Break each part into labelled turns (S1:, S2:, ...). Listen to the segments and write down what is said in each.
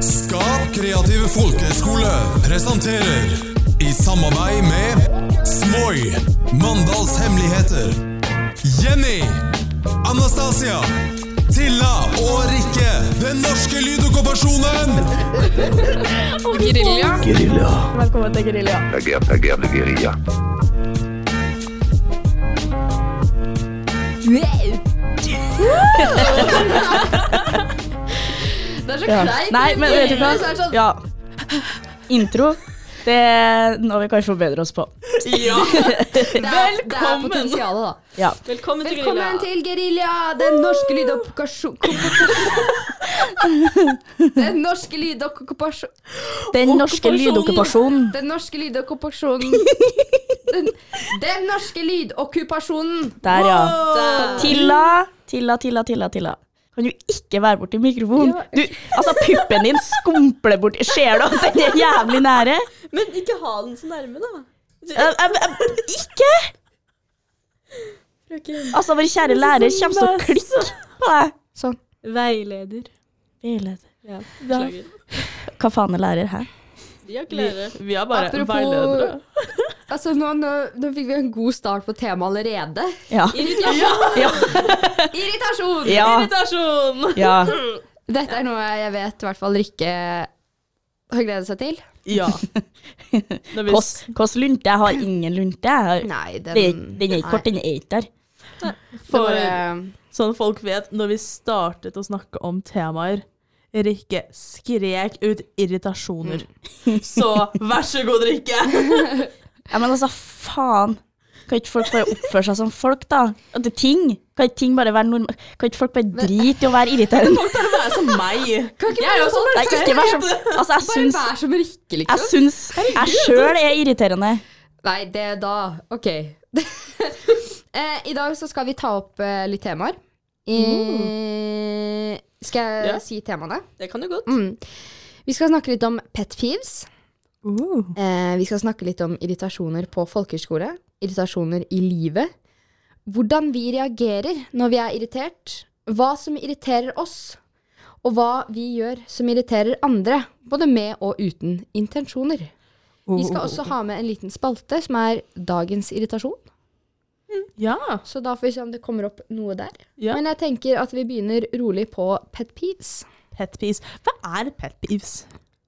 S1: Skap kreativ folkehøgskole presenterer i samarbeid med Smoi, Mandals hemmeligheter, Jenny, Anastasia, Tilla og Rikke, den norske lydokkupasjonen.
S2: Gerilja.
S3: Velkommen til Gerilja.
S4: Jeg er, jeg er det geria.
S5: Det er så
S3: Ja.
S5: kleint.
S3: Nei, men vet du hva?
S5: Det er sånn-
S3: Ja. Intro. Det er noe vi kanskje forbedrer oss på.
S2: Ja.
S5: det er-
S2: Velkommen.
S5: Det er potensialet, da.
S3: Ja.
S2: Velkommen til
S5: Velkommen til Gerilja, den norske lydokkupasjonen Den norske lydokkupasjonen
S3: Den norske lydokkupasjonen.
S5: Den norske lydokkupasjonen Den, den norske lydokkupasjonen
S3: Der, ja.
S2: Wow.
S3: Tilla, Tilla, Tilla, Tilla. Tilla. Kan du ikke være borti mikrofonen? Du, altså, puppen din skumpler borti Ser du at den er jævlig nære?
S2: Men ikke ha den så nærme, da.
S3: Jeg- jeg- jeg- Ikke!
S2: Frøken
S3: Altså, vår kjære lærer kommer til å klikke på deg.
S5: Sånn.
S6: Veileder.
S3: Veileder.
S2: Beklager.
S3: Hva faen er lærer her?
S2: Vi er klare.
S6: Vi er bare
S5: Apropos
S6: veiledere.
S5: Altså, nå, nå, nå fikk vi en god start på temaet allerede.
S3: Ja.
S5: Irritasjon!
S3: Ja.
S5: Irritasjon!
S3: Ja.
S6: Irritasjon!
S3: ja.
S5: Dette er noe jeg vet i hvert fall Rikke har gledet seg til.
S6: Ja. Det er visst.
S3: Hvordan lunte? Jeg har ingen lunte. Jeg har,
S5: Nei, den,
S3: den, den er ikke kort, den er ikke der.
S5: For, eh,
S6: For sånn folk vet, når vi startet å snakke om temaer, Rikke skrek ut
S5: Mm.
S6: irritasjoner. Så vær så god, Rikke!
S3: Ja, men altså, faen. Kan ikke folk bare oppføre seg som folk, da? At det er ting. Kan ikke ting bare være normal... Kan ikke folk bare drite i å være irriterende?
S2: Folk pleier å være som meg.
S5: Kan ikke
S2: Jeg er jo
S5: bare
S2: sånn.
S3: Nei, ikke vær som Altså, jeg
S5: Bare
S3: syns
S5: vær som Rikke,
S3: Jeg
S5: liksom.
S3: syns jeg sjøl er irriterende.
S5: Nei, det er da OK. eh, I dag så skal vi ta opp eh, litt temaer. Eh,
S3: Mm.
S5: skal jeg
S2: Ja.
S5: si temaene?
S2: Det kan du godt.
S5: Mm. Vi skal snakke litt om pet peeves.
S6: Uh,
S5: Eh, vi skal snakke litt om irritasjoner på folkehøyskole. Irritasjoner i livet. Hvordan vi reagerer når vi er irritert. Hva som irriterer oss. Og hva vi gjør som irriterer andre. Både med og uten intensjoner.
S6: uh,
S5: Vi skal også ha med en liten spalte som er dagens irritasjon.
S2: Ja.
S5: Så da får vi se om det kommer opp noe der.
S2: Ja.
S5: Men jeg tenker at vi begynner rolig på pet peeves.
S2: Pet peeves. Hva er pet peeves?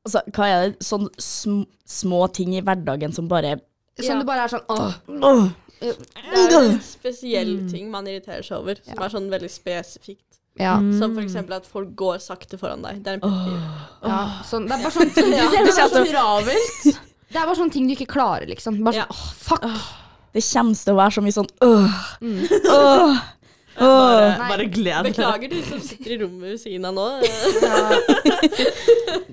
S3: Altså, hva er det? Sånne sm små ting i hverdagen som bare
S5: Sånn
S6: Ja.
S5: det bare er sånn åh.
S3: Åh,
S6: Det er en spesiell ting man irriterer seg over, som er sånn veldig spesifikt.
S5: Ja.
S6: Som for eksempel at folk går sakte foran deg. Det er en pet peeve.
S5: ja sånn, det er bare sånn ting,
S3: det
S6: Det
S3: kjennes
S6: er så
S3: som-
S6: travelt.
S5: Det er bare sånne ting du ikke klarer, liksom. Bare
S6: Ja.
S5: sånn, åh, fuck.
S3: Det kommer til å være så mye sånn øh,
S2: Mm.
S3: øh,
S2: Bare,
S5: Nei.
S2: bare gled dere.
S6: Beklager, du som sitter i rommet ved siden av nå.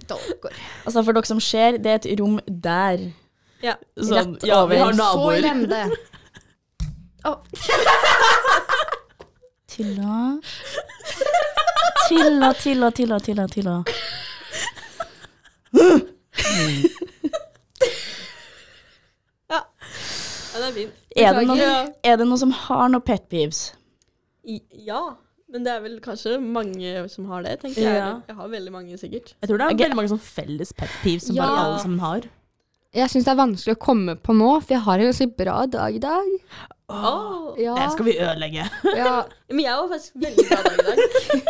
S5: Dolker.
S3: Altså, for dere som ser, det er et rom der.
S6: Ja.
S2: Sånn,
S3: Rett
S2: ja, vi
S3: over.
S2: har
S5: Så
S2: naboer.
S5: elendig.
S3: Tilla Tilla, tilla, tilla, tilla, tilla.
S6: Ja. ja, det er fint.
S3: Er det, noen,
S6: Beklager.
S3: er det noen som har noe pet peeves?
S6: I, ja, men det er vel kanskje mange som har det, tenker jeg.
S2: Ja.
S6: Jeg har veldig mange, sikkert.
S2: Jeg tror det er
S3: Ok.
S2: veldig mange sånn felles pet peeves som
S5: Ja.
S2: bare alle sammen har.
S5: Jeg syns det er vanskelig å komme på nå, for jeg har en ganske bra dag i dag.
S6: Åh.
S5: Ja,
S2: Den skal vi ødelegge.
S5: ja.
S6: Men jeg var faktisk veldig bra dag i dag.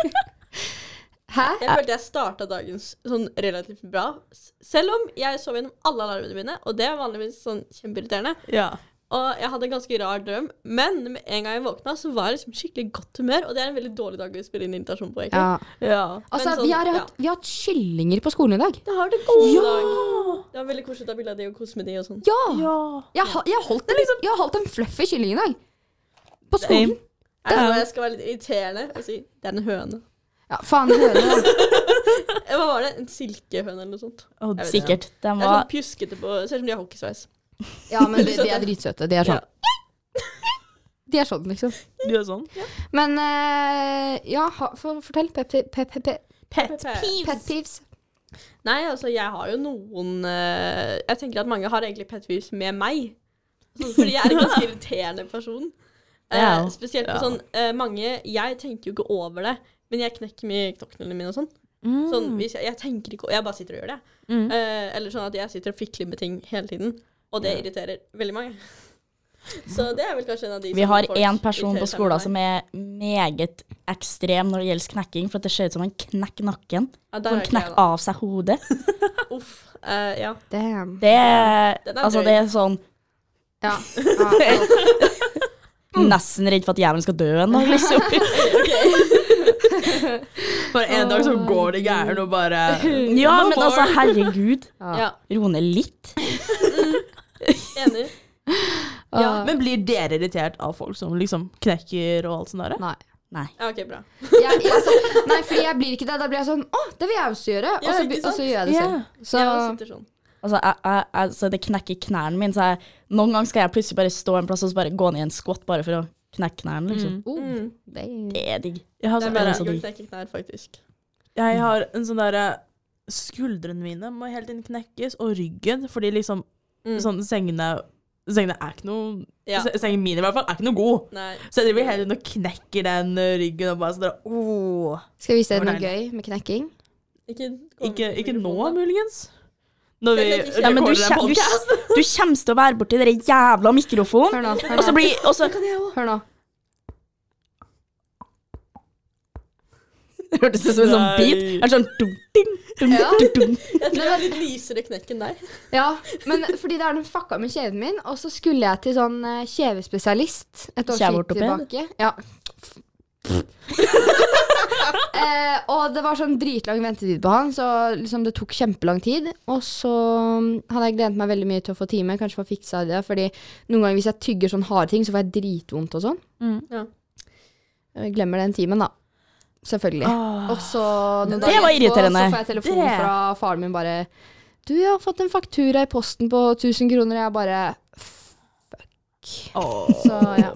S5: Hæ?
S6: Jeg følte jeg starta dagen s- sånn relativt bra. s- Selv om jeg sov gjennom alle alarmene mine, og det er vanligvis sånn kjempeirriterende.
S2: Ja.
S6: Og jeg hadde en ganske rar drøm, men med en gang jeg våkna, så var jeg liksom skikkelig godt humør, og det er en veldig dårlig dag å spille inn invitasjon på, egentlig.
S5: Ja.
S2: ja.
S5: Altså,
S6: Men sånn,
S5: vi har,
S6: ja.
S5: hatt, vi har hatt kyllinger på skolen i dag.
S6: Det har det god dag. Det var veldig koselig å ta bilde av de og kose med de og sånn.
S5: Ja! Jeg, har- jeg, har holdt en, jeg har holdt en fluffy kylling i dag. På skolen.
S6: Jeg tror jeg skal være litt irriterende og si det er en høne.
S5: Ja, faen høne. da.
S6: Eh, Hva var det? En silkehøne eller noe sånt.
S2: Og
S6: Jeg vet ikke.
S3: Sikkert. De
S6: Det er
S3: var
S6: sånn pjuskete på Ser ut som de har hockeysveis.
S5: Ja, men de, de er dritsøte. De er sånn. De er sånn, liksom.
S2: Du er sånn.
S5: Men eh, ja, ha, for, fortell. Pet, pe- pe- pe- pe-
S2: Pet
S5: pet peeves.
S6: Nei, altså, jeg har jo noen eh, Jeg tenker at mange har egentlig pet peeves med meg. Sånn, fordi jeg er en ganske irriterende person. Eh,
S3: Ja.
S6: spesielt på sånn eh, mange Jeg tenker jo ikke over det, men jeg knekker mye knoklene mine og sånn. Sånn,
S3: Mm.
S6: hvis jeg, jeg tenker ikke Jeg bare sitter og gjør det. Eh, eller sånn at jeg sitter og fikler med ting hele tiden. Og det irriterer veldig mange. Så det er vel kanskje en av de
S3: Vi
S7: Sånn
S6: som
S3: har
S6: folk
S3: én person på
S6: irriterer seg
S3: skolen
S6: med
S3: som er meget ekstrem når det gjelder knekking, for at det ser ut som han knekker nakken.
S6: ja, der
S3: Han
S6: er ikke jeg
S3: knekker
S6: da.
S3: av seg hodet.
S6: Uff. eh, ja.
S5: Damn.
S3: Det er,
S6: Den er
S3: altså,
S6: drøy.
S3: det er sånn
S5: Ja. Ah. ja.
S7: Mm.
S3: Nesten redd for at jævelen skal dø en dag, liksom.
S7: For en dag så går det gærent og bare
S3: Ja, men altså, herregud.
S6: ja.
S3: Ro ned litt.
S6: Enig.
S5: ja.
S7: Men blir dere irritert av folk som liksom knekker og alt sånt der?
S5: Nei.
S3: Nei.
S6: Ja, OK, bra.
S5: Jeg, jeg, så, nei, fordi jeg blir ikke det. Da blir jeg sånn Å, det vil jeg også gjøre. Og
S6: Ja,
S5: så, be-
S6: ikke sant?
S5: og så gjør jeg det selv. Så
S6: Jeg sitter sånn.
S3: Altså, jeg, jeg, jeg, så det knekker i knærne mine. Så jeg, noen ganger skal jeg plutselig bare stå en plass og så bare gå ned i en squat bare for å knekke knærne, liksom.
S5: oh,
S6: Mm.
S5: dang.
S3: Det er digg.
S7: Jeg har,
S6: Det Mm. er
S7: sånn,
S6: bare
S3: altså,
S6: jeg
S3: de-
S6: knekker knær, faktisk.
S7: jeg har en sånn derre Skuldrene mine må hele tiden knekkes, og ryggen, fordi liksom
S6: Mm.
S7: sånn sengene Sengene er ikke noe
S6: Ja.
S7: se- Sengen min i hvert fall er ikke noe god.
S6: Nei.
S7: Så jeg driver hele tiden og knekker den ø, ryggen og bare sånn der, åh.
S5: Skal jeg vise deg noe
S7: Hvordan?
S5: gøy med knekking?
S6: Ikke,
S7: Ikke, ikke nå, muligens? Når vi
S6: Jeg tenker ikke-
S7: rekorder
S3: Men du,
S7: en
S3: kjem, du,
S7: podcast.
S3: du kommer til å være borti den jævla mikrofonen,
S5: Hør nå.
S3: og så
S5: Hør nå.
S3: blir og så-
S5: Hør nå.
S3: Det hørtes ut som en sånn beat.
S7: Nei.
S3: Eller sånn dum, ding, dum,
S5: Ja.
S3: dum, dum.
S6: Jeg tror jeg har litt lysere knekk enn deg.
S5: Ja, men fordi det er noen fucka med kjeven min, og så skulle jeg til sånn eh, kjevespesialist et års tid
S3: Kjeveortoped?
S5: tilbake. Ja. eh, og det var sånn dritlang ventetid på han, så liksom det tok kjempelang tid. Og så mm, hadde jeg gledet meg veldig mye til å få time, kanskje få fiksa det, fordi noen ganger hvis jeg tygger sånn harde ting, så får jeg dritvondt og sånn.
S6: Ja.
S5: Jeg Eh, glemmer den timen, da. Selvfølgelig. Og så noen
S3: Det
S5: dager
S3: var
S5: etterpå,
S3: irriterende.
S5: Så får jeg telefon
S7: Det-
S5: fra faren min bare Du, jeg har fått en faktura i posten på 1000 kroner. Og jeg bare
S7: Åh.
S5: Så ja.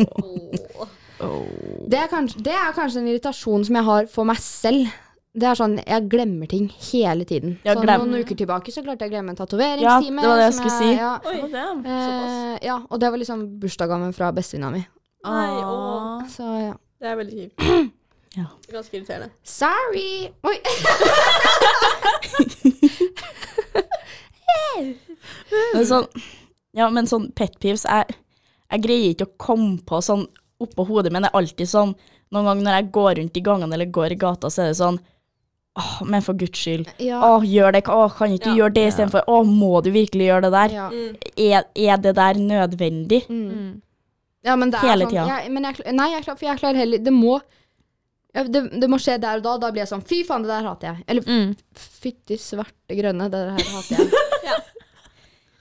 S6: Åh.
S5: Det er, kanskje, det er kanskje en irritasjon som jeg har for meg selv. Det er sånn, Jeg glemmer ting hele tiden.
S3: Ja,
S5: så
S3: glem-
S5: noen uker tilbake så klarte jeg å glemme en
S3: Ja, det
S5: tatoveringstime.
S3: var det jeg
S5: som
S3: skulle si.
S5: Ja,
S6: Oi.
S7: Å, damn.
S5: eh, ja, og det var liksom bursdagsgaven fra bestevenninna mi.
S6: Nei,
S7: Åh.
S6: åh.
S5: Så ja.
S6: Det er veldig kjipt.
S3: Ja.
S6: Ganske irriterende.
S5: Sorry! Oi!
S3: Men sånn, ja, men sånn pet peeves jeg, jeg greier ikke å komme på sånn oppå hodet, men det er alltid sånn Noen ganger når jeg går rundt i gangene eller går i gata, så er det sånn Åh, men for guds skyld.
S5: Ja.
S3: Åh, gjør det. Åh, kan ikke du
S6: Ja.
S3: gjøre det istedenfor? Åh, må du virkelig gjøre det der?
S5: Ja.
S6: Mm.
S3: Er, er det der nødvendig?
S5: Mm. Ja, men det er
S3: Hele
S5: sånn,
S3: tida.
S5: Jeg, men jeg, kla- nei, jeg, kla- for jeg klarer heller Det må ja, det, det må skje der og da. Da blir jeg sånn Fy faen, det der hater jeg. Eller fytti svarte grønne, det der hater jeg.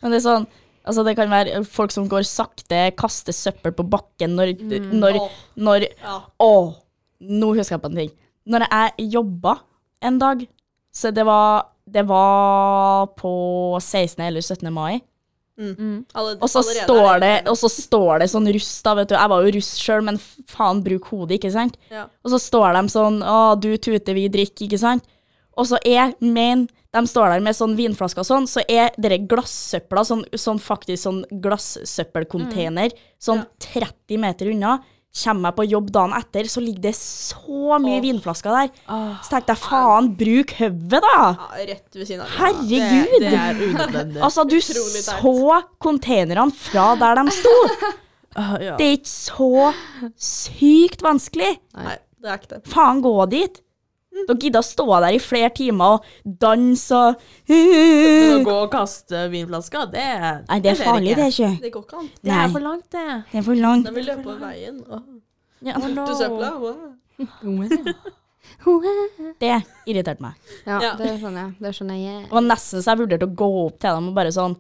S3: Men det er sånn Altså, det kan være folk som går sakte, kaster søppel på bakken når, når,
S6: Mm. Åh,
S3: når
S6: ja.
S3: Åh, nå husker jeg på en ting. Når jeg jobba en dag, så det var, det var på 16. eller 17. mai,
S6: Alle-
S3: og så,
S6: allerede
S3: står
S6: er
S3: det, og så står det sånn russ da, vet du. Jeg var jo russ sjøl, men faen, bruk hodet, ikke sant?
S6: Ja.
S3: Og så står de sånn, å, du tuter, vi drikker, ikke sant? Og så er main, de står der med sånn vinflasker og sånn, så er dere glassøpla, sånn, sånn faktisk sånn glassøppelcontainer,
S7: Mm.
S3: sånn 30 meter unna, kommer jeg på jobb dagen etter, så ligger det så mye vinflasker der. Så tenkte jeg, faen, bruk høvet da!
S6: Ja, rett ved siden av.
S3: Herregud!
S7: Det er unødvendig.
S3: Altså, du
S6: Utrolig teit.
S3: så containerne fra der de sto.
S7: Ah, ja.
S3: Det er ikke så sykt vanskelig.
S6: Nei, det er ikke det.
S3: Faen, gå dit. Dere gidder å stå der i flere timer og danse og Nei,
S7: Å gå og kaste vinflaska, det
S3: det er farlig, det er ikke.
S6: Det går ikke an.
S7: Det er
S3: Nei.
S7: for langt, det.
S3: Det er for langt.
S6: Da vil løpe over veien. Åh.
S3: Ja,
S6: Du søpla. Wow.
S3: det irriterte meg.
S5: Ja,
S6: Ja.
S5: det skjønner jeg. Det skjønner jeg.
S3: Det var nesten så jeg vurderte å gå opp til dem og bare sånn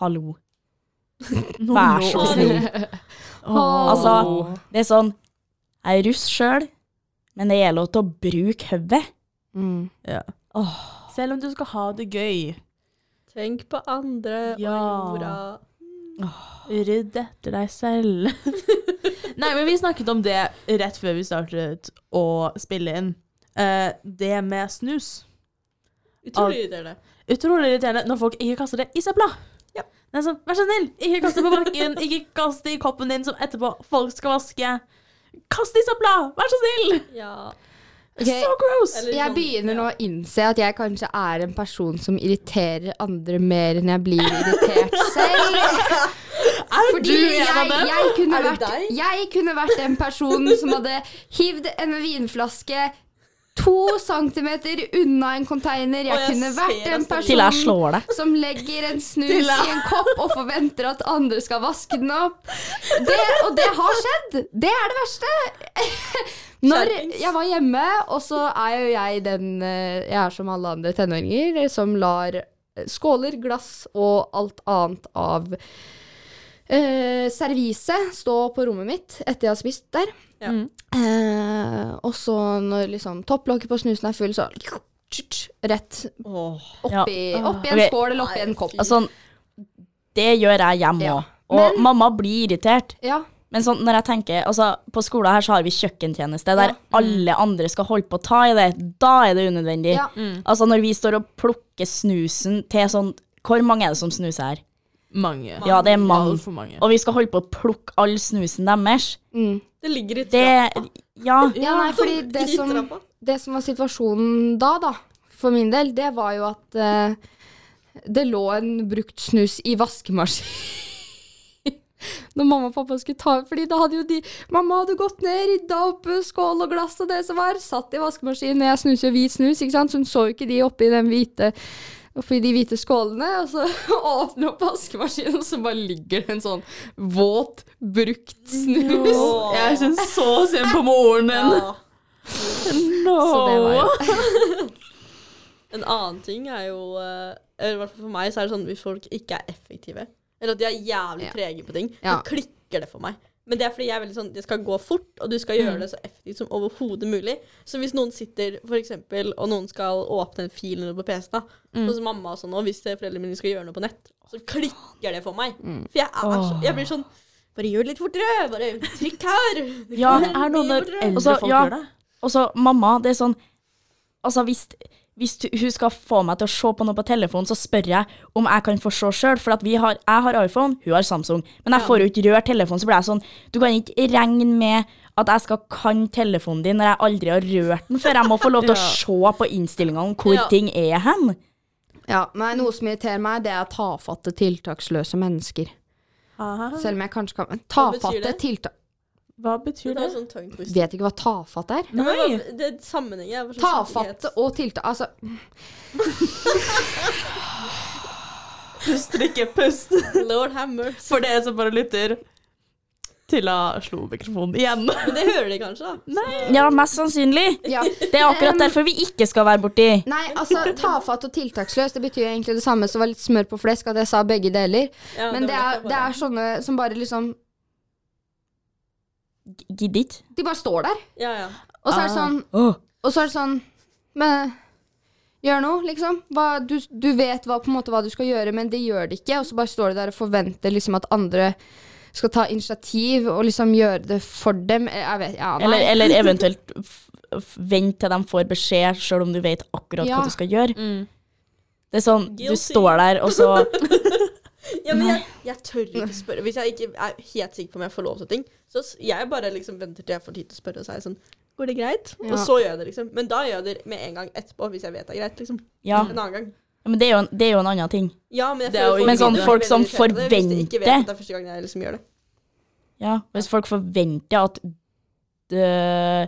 S3: Hallo. Vær så snill. Altså, det er sånn Jeg er russ sjøl, men det gjelder å bruke hodet.
S5: Mm.
S7: Selv om du skal ha det gøy,
S6: Tenk på andre
S7: Ja.
S6: og jorda.
S7: rydd etter deg selv. Nei, men vi snakket om det rett før vi startet å spille inn. Eh, det med snus.
S6: Utrolig irriterende.
S7: Utrolig irriterende når folk ikke kaster det i søpla. Det er sånn, vær så snill, ikke kast det på bakken. Ikke kast det i koppen din som etterpå folk skal vaske. Kast det i søpla, vær så snill!
S6: Ja.
S5: Ok,
S7: So gross!
S6: Eller
S5: Jeg
S6: sånn-
S5: begynner nå å innse at jeg kanskje er en person som irriterer andre mer enn jeg blir irritert selv.
S7: Er
S5: Fordi
S7: du en av
S5: jeg,
S7: dem?
S5: jeg, kunne
S6: Er du
S5: vært,
S6: deg?
S5: jeg kunne vært en person som hadde hivd en vinflaske to centimeter unna en container. Jeg
S6: Og jeg
S5: kunne
S6: ser
S5: vært en
S6: at det-
S3: Til jeg
S5: person
S3: slår deg.
S5: som legger en snus
S7: Til jeg-
S5: i en kopp og forventer at andre skal vaske den opp. Det, og det har skjedd. Det er det verste. Når
S6: Skjerpings.
S5: jeg var hjemme, og så er jo jeg den eh, Jeg er som alle andre tenåringer som lar eh, skåler, glass og alt annet av eh, serviset stå på rommet mitt etter jeg har spist der.
S6: Ja.
S7: Mm.
S5: Eh, og så når liksom topplokket på snusen er full, så rett
S6: Åh.
S5: oppi, oppi en
S3: Ok.
S5: skål eller oppi en kopp.
S3: Altså, det gjør jeg hjemme
S5: Ja.
S3: òg. Og mamma blir irritert.
S5: Ja.
S3: Men sånn, når jeg tenker, altså, på skolen her så har vi kjøkkentjeneste, der
S5: Ja.
S3: alle andre skal holde på å ta i det. Da er det unødvendig.
S5: Ja.
S3: Altså Når vi står og plukker snusen til sånn Hvor mange er det som snuser her?
S7: Mange.
S3: Ja, det er mange.
S7: Altfor mange.
S3: Og vi skal holde på å plukke all snusen deres.
S5: Mm.
S6: Det ligger i
S3: Det Ja.
S5: ja, nei, fordi det
S6: I
S5: som,
S6: trappa.
S5: det som var situasjonen da, da, for min del, det var jo at eh, det lå en brukt snus i vaskemaskinen. Når mamma og pappa skulle ta Fordi da hadde jo de Mamma hadde gått ned, rydda opp eh, skål og glass og det som var, satt i vaskemaskinen, og jeg snuser jo hvit snus, ikke sant, så hun så jo ikke de oppi den hvite Oppi de hvite skålene, og så åpner hun opp vaskemaskinen, og så bare ligger det en sånn våt, brukt snus.
S6: Åh.
S7: Jeg syns så synd på moren din.
S6: Ja.
S7: No.
S5: Så det var jo
S6: En annen ting er jo eh, Eller i hvert fall for meg så er det sånn hvis folk ikke er effektive. Eller at de er jævlig
S5: Ja.
S6: trege på ting.
S5: Ja.
S6: Så klikker det for meg. Men det er fordi jeg er veldig sånn det skal gå fort, og du skal gjøre det så effektivt som overhodet mulig. Så hvis noen sitter for eksempel, og noen skal åpne en fil eller noe på PC-en, da, hos mamma og sånn, og hvis eh, foreldrene mine skal gjøre noe på nett, så klikker det for meg. For jeg, er så, jeg blir sånn Bare gjør det litt fortere! Bare trykk her!
S3: Ja,
S6: Kom
S3: det er noe
S6: mye
S3: når
S6: fortere.
S3: eldre-
S7: Også,
S3: folk
S7: ja.
S3: gjør Og så mamma, det er sånn Altså hvis, hvis du- hun skal få meg til å se på noe på telefonen, så spør jeg om jeg kan få se sjøl. For at vi har, jeg har iPhone, hun har Samsung. Men jeg får jo ikke rørt telefonen, så blir jeg sånn Du kan ikke regne med at jeg skal kan telefonen din når jeg aldri har rørt den før. Jeg må få lov til å se på innstillingene om hvor
S6: Ja.
S3: ting er hen.
S5: Ja, nei, Noe som irriterer meg, det er tafatte, tiltaksløse mennesker. Selv om jeg kanskje kan
S6: betyr
S5: Tafatte
S6: det?
S5: tiltak...
S7: Hva betyr det? sånn,
S6: Det var sånn tongue twist.
S5: Vet ikke hva tafatt er.
S6: Ja, men
S7: Nei.
S6: hva- Det er sånn sammenhengen. jeg var så
S5: Tafatte og tiltak... Altså,
S7: Pust eller ikke pust.
S6: Lord have mercy.
S7: For det som bare lytter. Tilla slo mikrofonen igjen.
S6: Men det hører de kanskje, da.
S3: Ja, mest sannsynlig.
S5: ja.
S3: Det er akkurat derfor vi ikke skal være borti.
S5: Nei, altså, tafatt og tiltaksløs, det betyr egentlig det samme som var litt smør på flesk, at jeg sa begge deler.
S6: Ja,
S5: Men det er, det er sånne som bare liksom
S3: Gidder ikke.
S5: De bare står der.
S6: Ja, ja.
S5: Og så er
S6: Ah.
S5: det sånn
S3: Åh.
S5: Og så er det sånn Men gjør noe, liksom. Hva, du, du vet hva, på en måte hva du skal gjøre, men det gjør det ikke. Og så bare står du der og forventer liksom at andre skal ta initiativ og liksom gjøre det for dem. Jeg vet, ja, nei.
S3: Eller, eller eventuelt f- f- vent til de får beskjed, sjøl om du vet akkurat
S5: Ja.
S3: hva du skal gjøre.
S7: Mm,
S3: Det er sånn, du
S6: Guilty.
S3: står der, og så
S6: ja men jeg, jeg tør ikke spørre. Hvis jeg ikke er helt sikker på om jeg får lov til ting, så s- jeg bare liksom venter til jeg får tid til å spørre, og så er jeg sånn Går det greit?
S5: Ja.
S6: Og så gjør jeg det, liksom. Men da gjør jeg det med en gang etterpå, hvis jeg vet det er greit, liksom.
S3: Ja.
S6: En annen gang.
S3: Men det er jo en, det er jo en annen ting.
S6: Ja, men jeg
S7: Det er jo
S6: føler
S3: Men sånn
S6: blir
S3: folk
S6: veldig
S3: som
S6: irritert av det Hvis de ikke vet
S3: forventer-
S6: at det er første gang jeg liksom gjør det.
S3: Ja, hvis folk forventer at øh,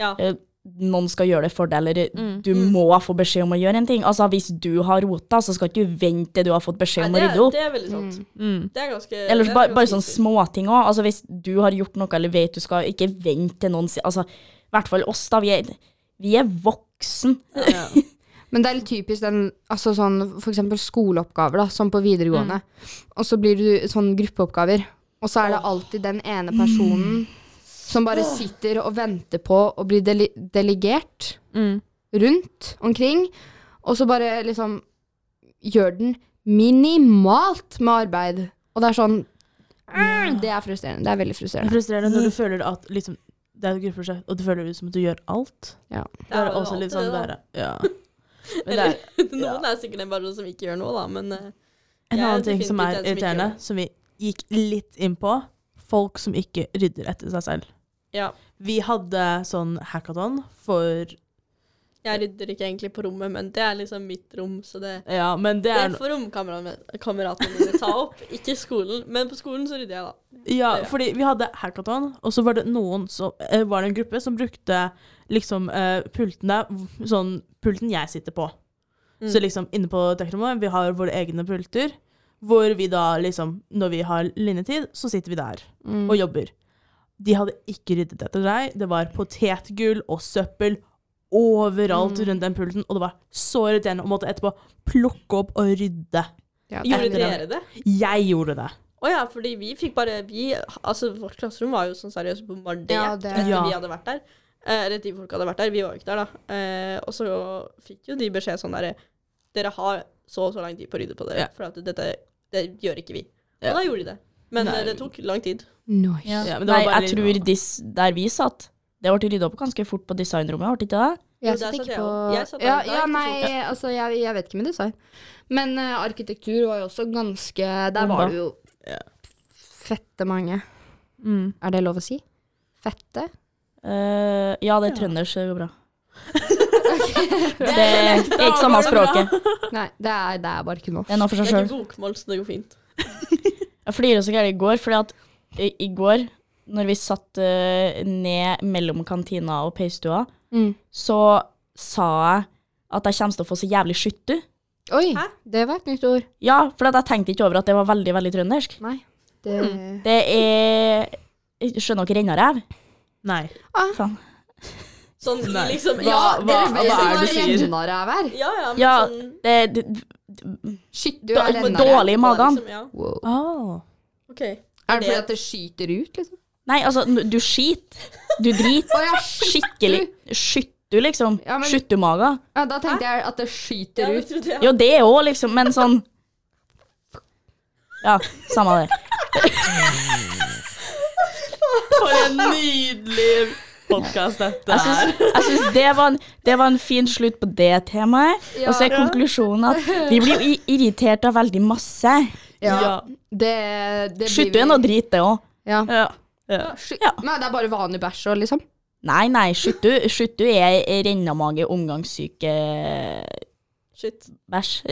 S6: Ja.
S3: øh, noen skal gjøre det for deg, eller
S6: Mm,
S3: du må få beskjed om å gjøre en ting. Altså, Hvis du har rota, så skal ikke du vente til du har fått
S6: Nei,
S3: beskjed om å
S6: det,
S3: rydde
S6: er,
S3: opp.
S6: det er veldig sant. Det er ganske
S3: Eller
S6: det er
S3: bare,
S6: ganske
S3: bare sånn sånne
S6: riktig.
S3: småting òg. Altså, hvis du har gjort noe eller vet du skal, ikke vent til noen sier altså, I hvert fall oss, da. Vi er, vi er voksen.
S5: Men det er litt typisk den, altså sånn, for eksempel skoleoppgaver, da, som på videregående.
S3: Mm.
S5: Og så blir du sånn gruppeoppgaver, og så er det alltid den ene personen
S3: Mm.
S5: som bare sitter og venter på å bli dele delegert
S7: mm.
S5: rundt omkring, og så bare liksom gjør den minimalt med arbeid. Og det er sånn Det er frustrerende. Det er veldig
S7: Det er
S5: frustrerende.
S7: frustrerende når du føler at liksom, det er et gruppeprosjekt, og du føler som at du gjør alt.
S5: Ja.
S7: Det er
S6: jo
S7: også litt
S6: alltid
S7: sånn
S6: det, da.
S7: der, ja. Men det er
S6: Noen er sikkert en bare sånn som ikke gjør noe, da, men eh,
S7: en
S6: Jeg er
S7: annen ting som
S6: definitivt
S7: er
S6: den som ikke
S7: irriterende,
S6: gjør
S7: som vi gikk litt inn på. Folk som ikke rydder etter seg selv.
S6: Ja.
S8: Vi hadde sånn hackathon for
S6: Jeg rydder ikke egentlig på rommet, men det er liksom mitt rom, så det
S8: Ja, men det
S6: det
S8: er
S6: er for romkameratene mine ta opp, ikke skolen. Men på skolen så rydder jeg, da.
S8: Ja,
S6: Ja.
S8: fordi vi hadde hackathon, og så var det noen som, eh, var det en gruppe som brukte liksom eh, pultene, v- sånn pulten jeg sitter på.
S6: Mm.
S8: Så liksom inne på Teknomo, vi har våre egne pulter, hvor vi da liksom, når vi har linjetid, så sitter vi der
S5: Mm.
S8: og jobber. De hadde ikke ryddet etter seg. Det var potetgull og søppel overalt rundt den pulten, og det var så irriterende å måtte etterpå plukke opp og rydde.
S5: Ja,
S6: Gjorde
S5: det er
S6: dere det?
S8: Jeg gjorde det.
S6: Å ja, fordi vi fikk bare vi, Altså, vårt klasserom var jo sånn seriøst bombardert
S5: Ja, det-
S6: etter
S8: Ja.
S6: vi hadde vært der. Eh, Eller de folka hadde vært der. Vi var jo ikke der, da. Eh, og så fikk jo de beskjed sånn derre Dere har så og så lang tid på å rydde på dere,
S8: Ja.
S6: for at dette det gjør ikke vi.
S8: Ja.
S6: Og da gjorde de det. Men
S8: Nei.
S6: eh, det tok lang tid.
S5: Nice.
S8: Ja, men det var
S3: Nei,
S8: bare
S3: jeg
S8: litt-
S3: tror dis- der vi satt, det ble rydda opp ganske fort på designrommet, ble det ikke det?
S5: Jeg
S6: Jo, der
S5: satt
S6: satt
S5: ikke
S6: jeg
S5: på
S6: også. Jeg satt der,
S5: ja,
S6: der
S5: ja,
S6: ikke
S5: nei, altså, jeg, jeg vet ikke med design. Men eh, arkitektur var jo også ganske Der
S8: Bomba.
S5: var det jo fette mange.
S8: Mm.
S5: Er det lov å si? Fette?
S3: Eh, ja, det er trøndersk, det går bra. Det er ikke samme språket.
S5: Nei, det er, det er bare ikke noe.
S3: Det er noe for seg
S6: Jeg er
S3: sjøl.
S6: ikke bokmål, så det går fint.
S3: Jeg flirte så gærent i går, fordi at i, i går, når vi satt eh, ned mellom kantina og peistua,
S5: Mm.
S3: så sa jeg at jeg kommer til å få så jævlig skyttu.
S5: Oi,
S6: Hæ?
S5: det var et nytt ord.
S3: Ja, for at jeg tenkte ikke over at det var veldig, veldig trøndersk.
S5: Nei. Det,
S6: Mm.
S3: Det er jeg Skjønner dere rennarev?
S8: Nei.
S3: Ah.
S6: Sånn
S8: Nei.
S6: liksom
S5: Ja,
S6: Ja,
S5: dere vet
S8: hva
S5: jo
S8: er
S5: hva
S8: det du sier?
S5: renner er her.
S6: ja, ja, men
S3: Ja,
S6: sånn
S3: det, det,
S5: Skyter
S3: Da-
S5: er renner er.
S3: dårlig i magen.
S6: Liksom, ja.
S5: Wow.
S8: Oh.
S6: OK.
S5: Er det fordi at det skyter ut, liksom?
S3: Nei, altså, n- du skiter. Du driter.
S5: Å ja,
S3: Skikkelig. Skyttu, liksom.
S5: Ja, men-
S3: Skyttumaga.
S5: Ja, da tenkte jeg at det skyter
S6: Ja,
S5: ut.
S6: det trodde jeg.
S3: Jo, det òg, liksom, men sånn Ja, samme det.
S8: For en nydelig podkast dette
S3: Jeg syns, jeg syns det, var en, det var en fin slutt på det temaet.
S5: Ja.
S3: Og så er konklusjonen at vi blir jo i- irritert av veldig masse.
S5: Ja.
S8: Ja.
S5: Det, det blir
S3: Skyttu er noe drit, det òg.
S5: Ja.
S8: Ja.
S5: Sky-
S3: Ja.
S5: Nei, det er bare vanlig bæsj og liksom.
S3: Nei, nei, skyttu, skyttu er rennamage, omgangssyke
S6: Shit.
S3: bæsj.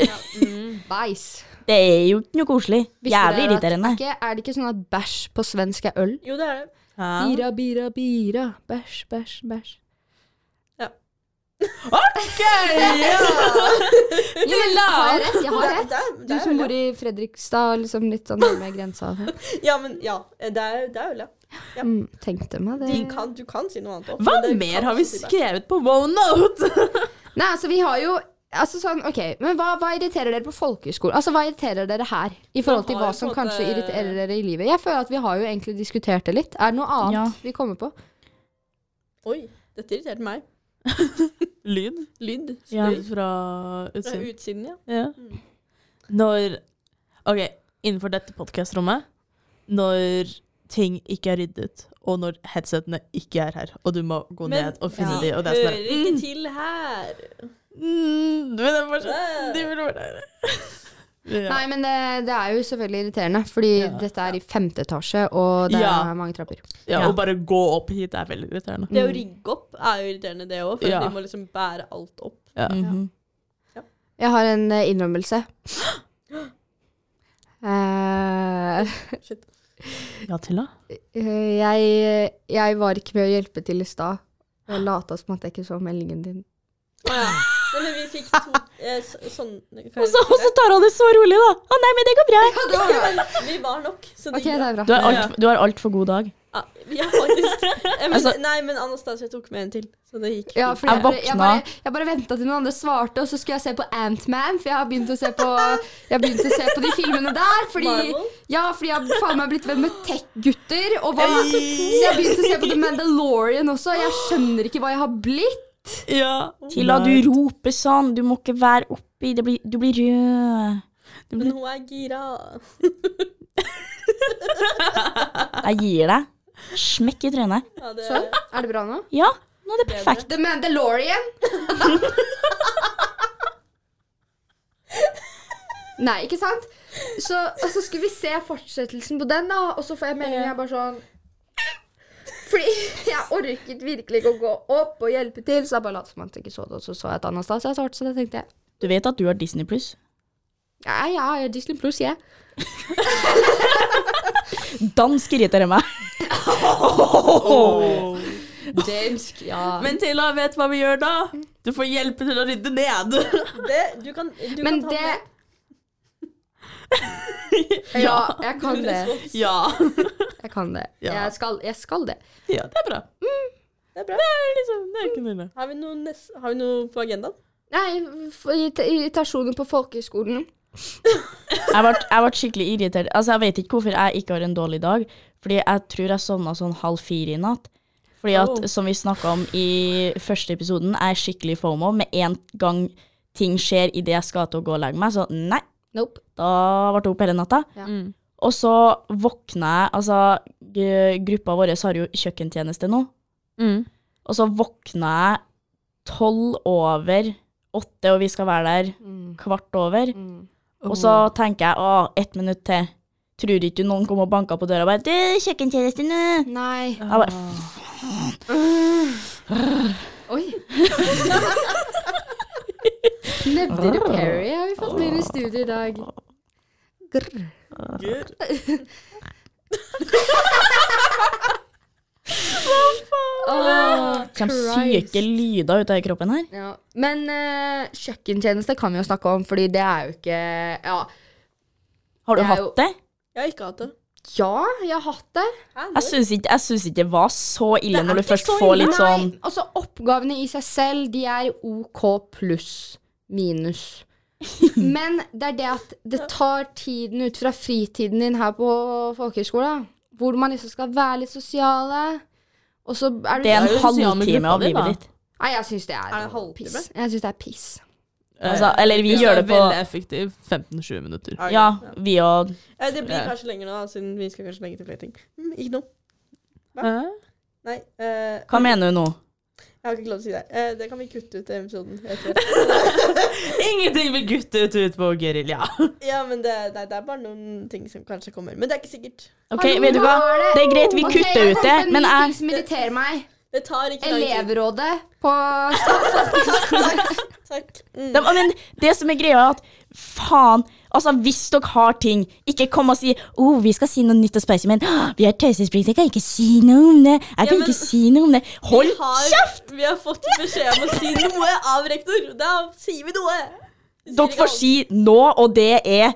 S6: Mm.
S5: Bæsj.
S3: Det er jo ikke noe koselig. Jævlig irriterende.
S5: Ikke, er det ikke sånn at bæsj på svensk er øl?
S6: Jo, det er det.
S5: Bira, bira, bira. Bæsj, bæsj, bæsj.
S6: Ja.
S5: OK! Ja, men har jeg rett? Jeg har
S6: Det er-
S5: rett.
S6: det er- det
S5: Du
S6: er
S5: som
S6: øl, ja.
S5: bor i Fredrikstad, liksom litt sånn nærme grensa.
S6: Ja, men ja. Det er, det er øl, ja. Ja.
S5: Mm, tenkte meg det.
S6: De kan, du kan si noe annet òg.
S8: Hva mer har vi skrevet på OneNote?
S5: Nei, altså, vi har jo Altså sånn, ok, men hva, hva irriterer dere på folkehøyskolen? Altså, hva irriterer dere her? I forhold til
S6: har
S5: hva
S6: jo eh,
S5: som
S6: på en
S5: kanskje
S6: måte-
S5: irriterer dere i livet. Jeg føler at vi har jo egentlig diskutert det litt. Er det noe annet
S3: Ja.
S5: vi kommer på?
S6: Oi, dette irriterte meg.
S8: Lyd
S6: Lyd.
S3: Ja.
S6: Lyd
S8: fra
S6: Fra
S8: utsiden.
S6: utsiden, ja.
S8: Ja. Når OK, innenfor dette podkastrommet, når ting ikke er ryddet, og når headsetene ikke er her, og du må gå
S6: Men-
S8: ned og finne
S3: Ja.
S8: de, og det er sånn
S6: Hører
S8: der,
S5: Mm.
S6: ikke til her.
S8: mm, men det er bare sånn, de burde vært der. Ja.
S5: Nei, men det, det er jo selvfølgelig irriterende, fordi
S8: Ja.
S5: dette er i femte etasje, og det
S8: Ja.
S5: er mange trapper.
S8: ja, og bare gå opp hit er veldig irriterende.
S6: Det å
S5: Mm.
S6: rigge opp er jo irriterende, det òg, for
S8: Ja.
S6: de må liksom bære alt opp.
S8: Mm.
S3: Mhm.
S5: Jeg har en eh, innrømmelse. Eh,
S8: Ja, til da?
S5: eh, jeg, jeg var ikke med å hjelpe til i stad. Jeg lata som at jeg ikke så meldingen din.
S6: Å ja. Nei, men vi fikk to eh, så, sånn
S3: Og så og så tar han det så rolig, da. Å nei, men det går bra.
S6: Vi var nok, så det
S5: Ok, det er
S3: Du
S5: bra.
S3: har alt- du har altfor god dag.
S6: Ja, vi har faktisk Eh, men,
S3: Altså-
S6: Nei, men Anastasia tok med en til, så det gikk.
S5: Ja, fordi
S6: fint.
S5: jeg,
S3: Jeg
S5: bare- jeg
S3: våkna.
S5: bare, jeg bare venta til noen andre svarte, og så skulle jeg se på Antman. For jeg har begynt å se på, jeg har begynt å se på de filmene der. Fordi,
S6: Marvel?
S5: ja, fordi jeg har faen meg blitt venn med tech-gutter. Og hva? Så jeg har begynt å se på The Mandalorian også. Jeg skjønner ikke hva jeg har blitt.
S8: Ja.
S3: Tilla, du roper sånn. Du må ikke være oppi. Det blir, du blir rød.
S6: Men hun er gira.
S3: Jeg gir deg. Smekk i trynet.
S6: Ja, det,
S5: Sånn. Er det bra nå?
S3: Ja, nå er det perfekt.
S5: The Mandalorian. Nei, ikke sant? Så, og så skal vi se fortsettelsen på den, da. Og så får jeg melding. Jeg er bare sånn Fordi jeg orket virkelig ikke å gå opp og hjelpe til, så jeg bare lot som at jeg ikke så det, og så så jeg at Anastasia svarte, så da tenkte jeg
S3: Du vet at du har Disney pluss?
S5: ja, ja, jeg er Disney pluss, jeg.
S3: Dansk irriterer meg.
S6: Dansk, ja.
S7: Men Tilla, vet du hva vi gjør da? Du får hjelpe til å rydde ned.
S6: Det, du kan, du
S5: Sånn. Men
S6: kan ta
S5: det
S6: med.
S5: Ja, jeg kan det.
S7: ja.
S5: Jeg kan det.
S7: Ja.
S5: Jeg skal, jeg skal det.
S7: ja. Det er bra.
S6: Det er bra.
S7: Det er liksom, det er ikke noe ille.
S6: Har vi, noe nes- har vi noe på agendaen?
S5: Nei, for irrit- irritasjoner på folkehøyskolen.
S3: Jeg ble, jeg ble skikkelig irritert. Altså, jeg vet ikke hvorfor jeg ikke har en dårlig dag. Fordi jeg tror jeg sovna sånn halv fire i natt. Fordi at,
S7: Oh.
S3: som vi snakka om i første episoden, jeg er skikkelig fomo. Med en gang ting skjer idet jeg skal til å gå og legge meg, så nei.
S5: Nope.
S3: Da ble jeg oppe hele natta.
S5: Ja.
S8: Mm.
S3: Og så våkna jeg Altså, g- gruppa vår har jo kjøkkentjeneste nå.
S8: Mm.
S3: Og så våkna jeg tolv over åtte, og vi skal være der
S5: Mm.
S3: kvart over. Og så tenker jeg å, ett minutt til. Tror ikke du noen kom og banka på døra og bare 'Du, kjøkkentjenesten nå!»
S5: Nei.
S3: Jeg bare, «F-
S5: Oi. Nevnte Perry har vi fått med i studio i dag. Grr. Åh,
S3: Kommer
S5: Christ.
S3: syke lyder ut av kroppen her.
S5: Ja. Men eh, kjøkkentjeneste kan vi jo snakke om, fordi det er jo ikke Ja,
S3: Har du
S5: Jeg er jo-
S3: hatt det?
S6: Jeg har ikke hatt det.
S5: ja jeg har hatt det.
S6: Hæ,
S3: Jeg syns ikke, jeg syns ikke det var så ille når du først får litt sånn
S5: Nei, altså oppgavene i seg selv, de er OK pluss minus. Men det er det at det tar tiden ut fra fritiden din her på folkehøyskolen, hvor man liksom skal være litt sosiale, og så er du
S7: Det
S3: Det er
S7: er
S3: en
S7: jo sosial med
S3: halvtime
S7: gruppa
S3: av
S7: di, da.
S3: livet ditt.
S5: Nei, jeg syns det er,
S6: Er det halvtime?
S5: piss. Jeg synes det er piss.
S3: Altså, eller vi
S7: Ja,
S3: gjør det på
S7: Veldig effektiv. 15-20 minutter.
S6: er det-
S3: Ja, vi og
S6: Ja, Eh, Det blir
S7: Ja.
S6: kanskje lenger nå, da, siden vi skal kanskje legge til flere ting. Mm, ikke noe.
S7: Hæ?
S6: Nei. eh,
S3: Hva mener du nå?
S6: Jeg har ikke lov til å si det. Eh, det kan vi kutte ut i episoden. jeg tror.
S7: Ingenting vil gutte ut ut på gerilja.
S6: Ja, men det, nei, det er bare noen ting som kanskje kommer. Men det er ikke sikkert.
S3: OK, vet du hva? Det er greit, vi kutter ut det, men
S5: jeg
S3: jeg
S5: ting som irriterer meg.
S6: Det tar ikke lang tid.
S5: Elevrådet på
S6: Takk. Mm.
S3: De, men det som er greia, er at faen Altså, hvis dere har ting, ikke kom og si 'Å, vi skal si noe nytt og spicy', men «Åh, 'Vi har taushetsplikt, jeg kan ikke si noe om det'. Jeg kan
S6: men-
S3: ikke si noe om det. Hold
S6: Vi har-
S3: kjeft!
S6: Vi har fått beskjed om å si noe av rektor. Da sier vi noe. Vi sier
S3: Dere
S6: ikke alt.
S3: får si nå, og det er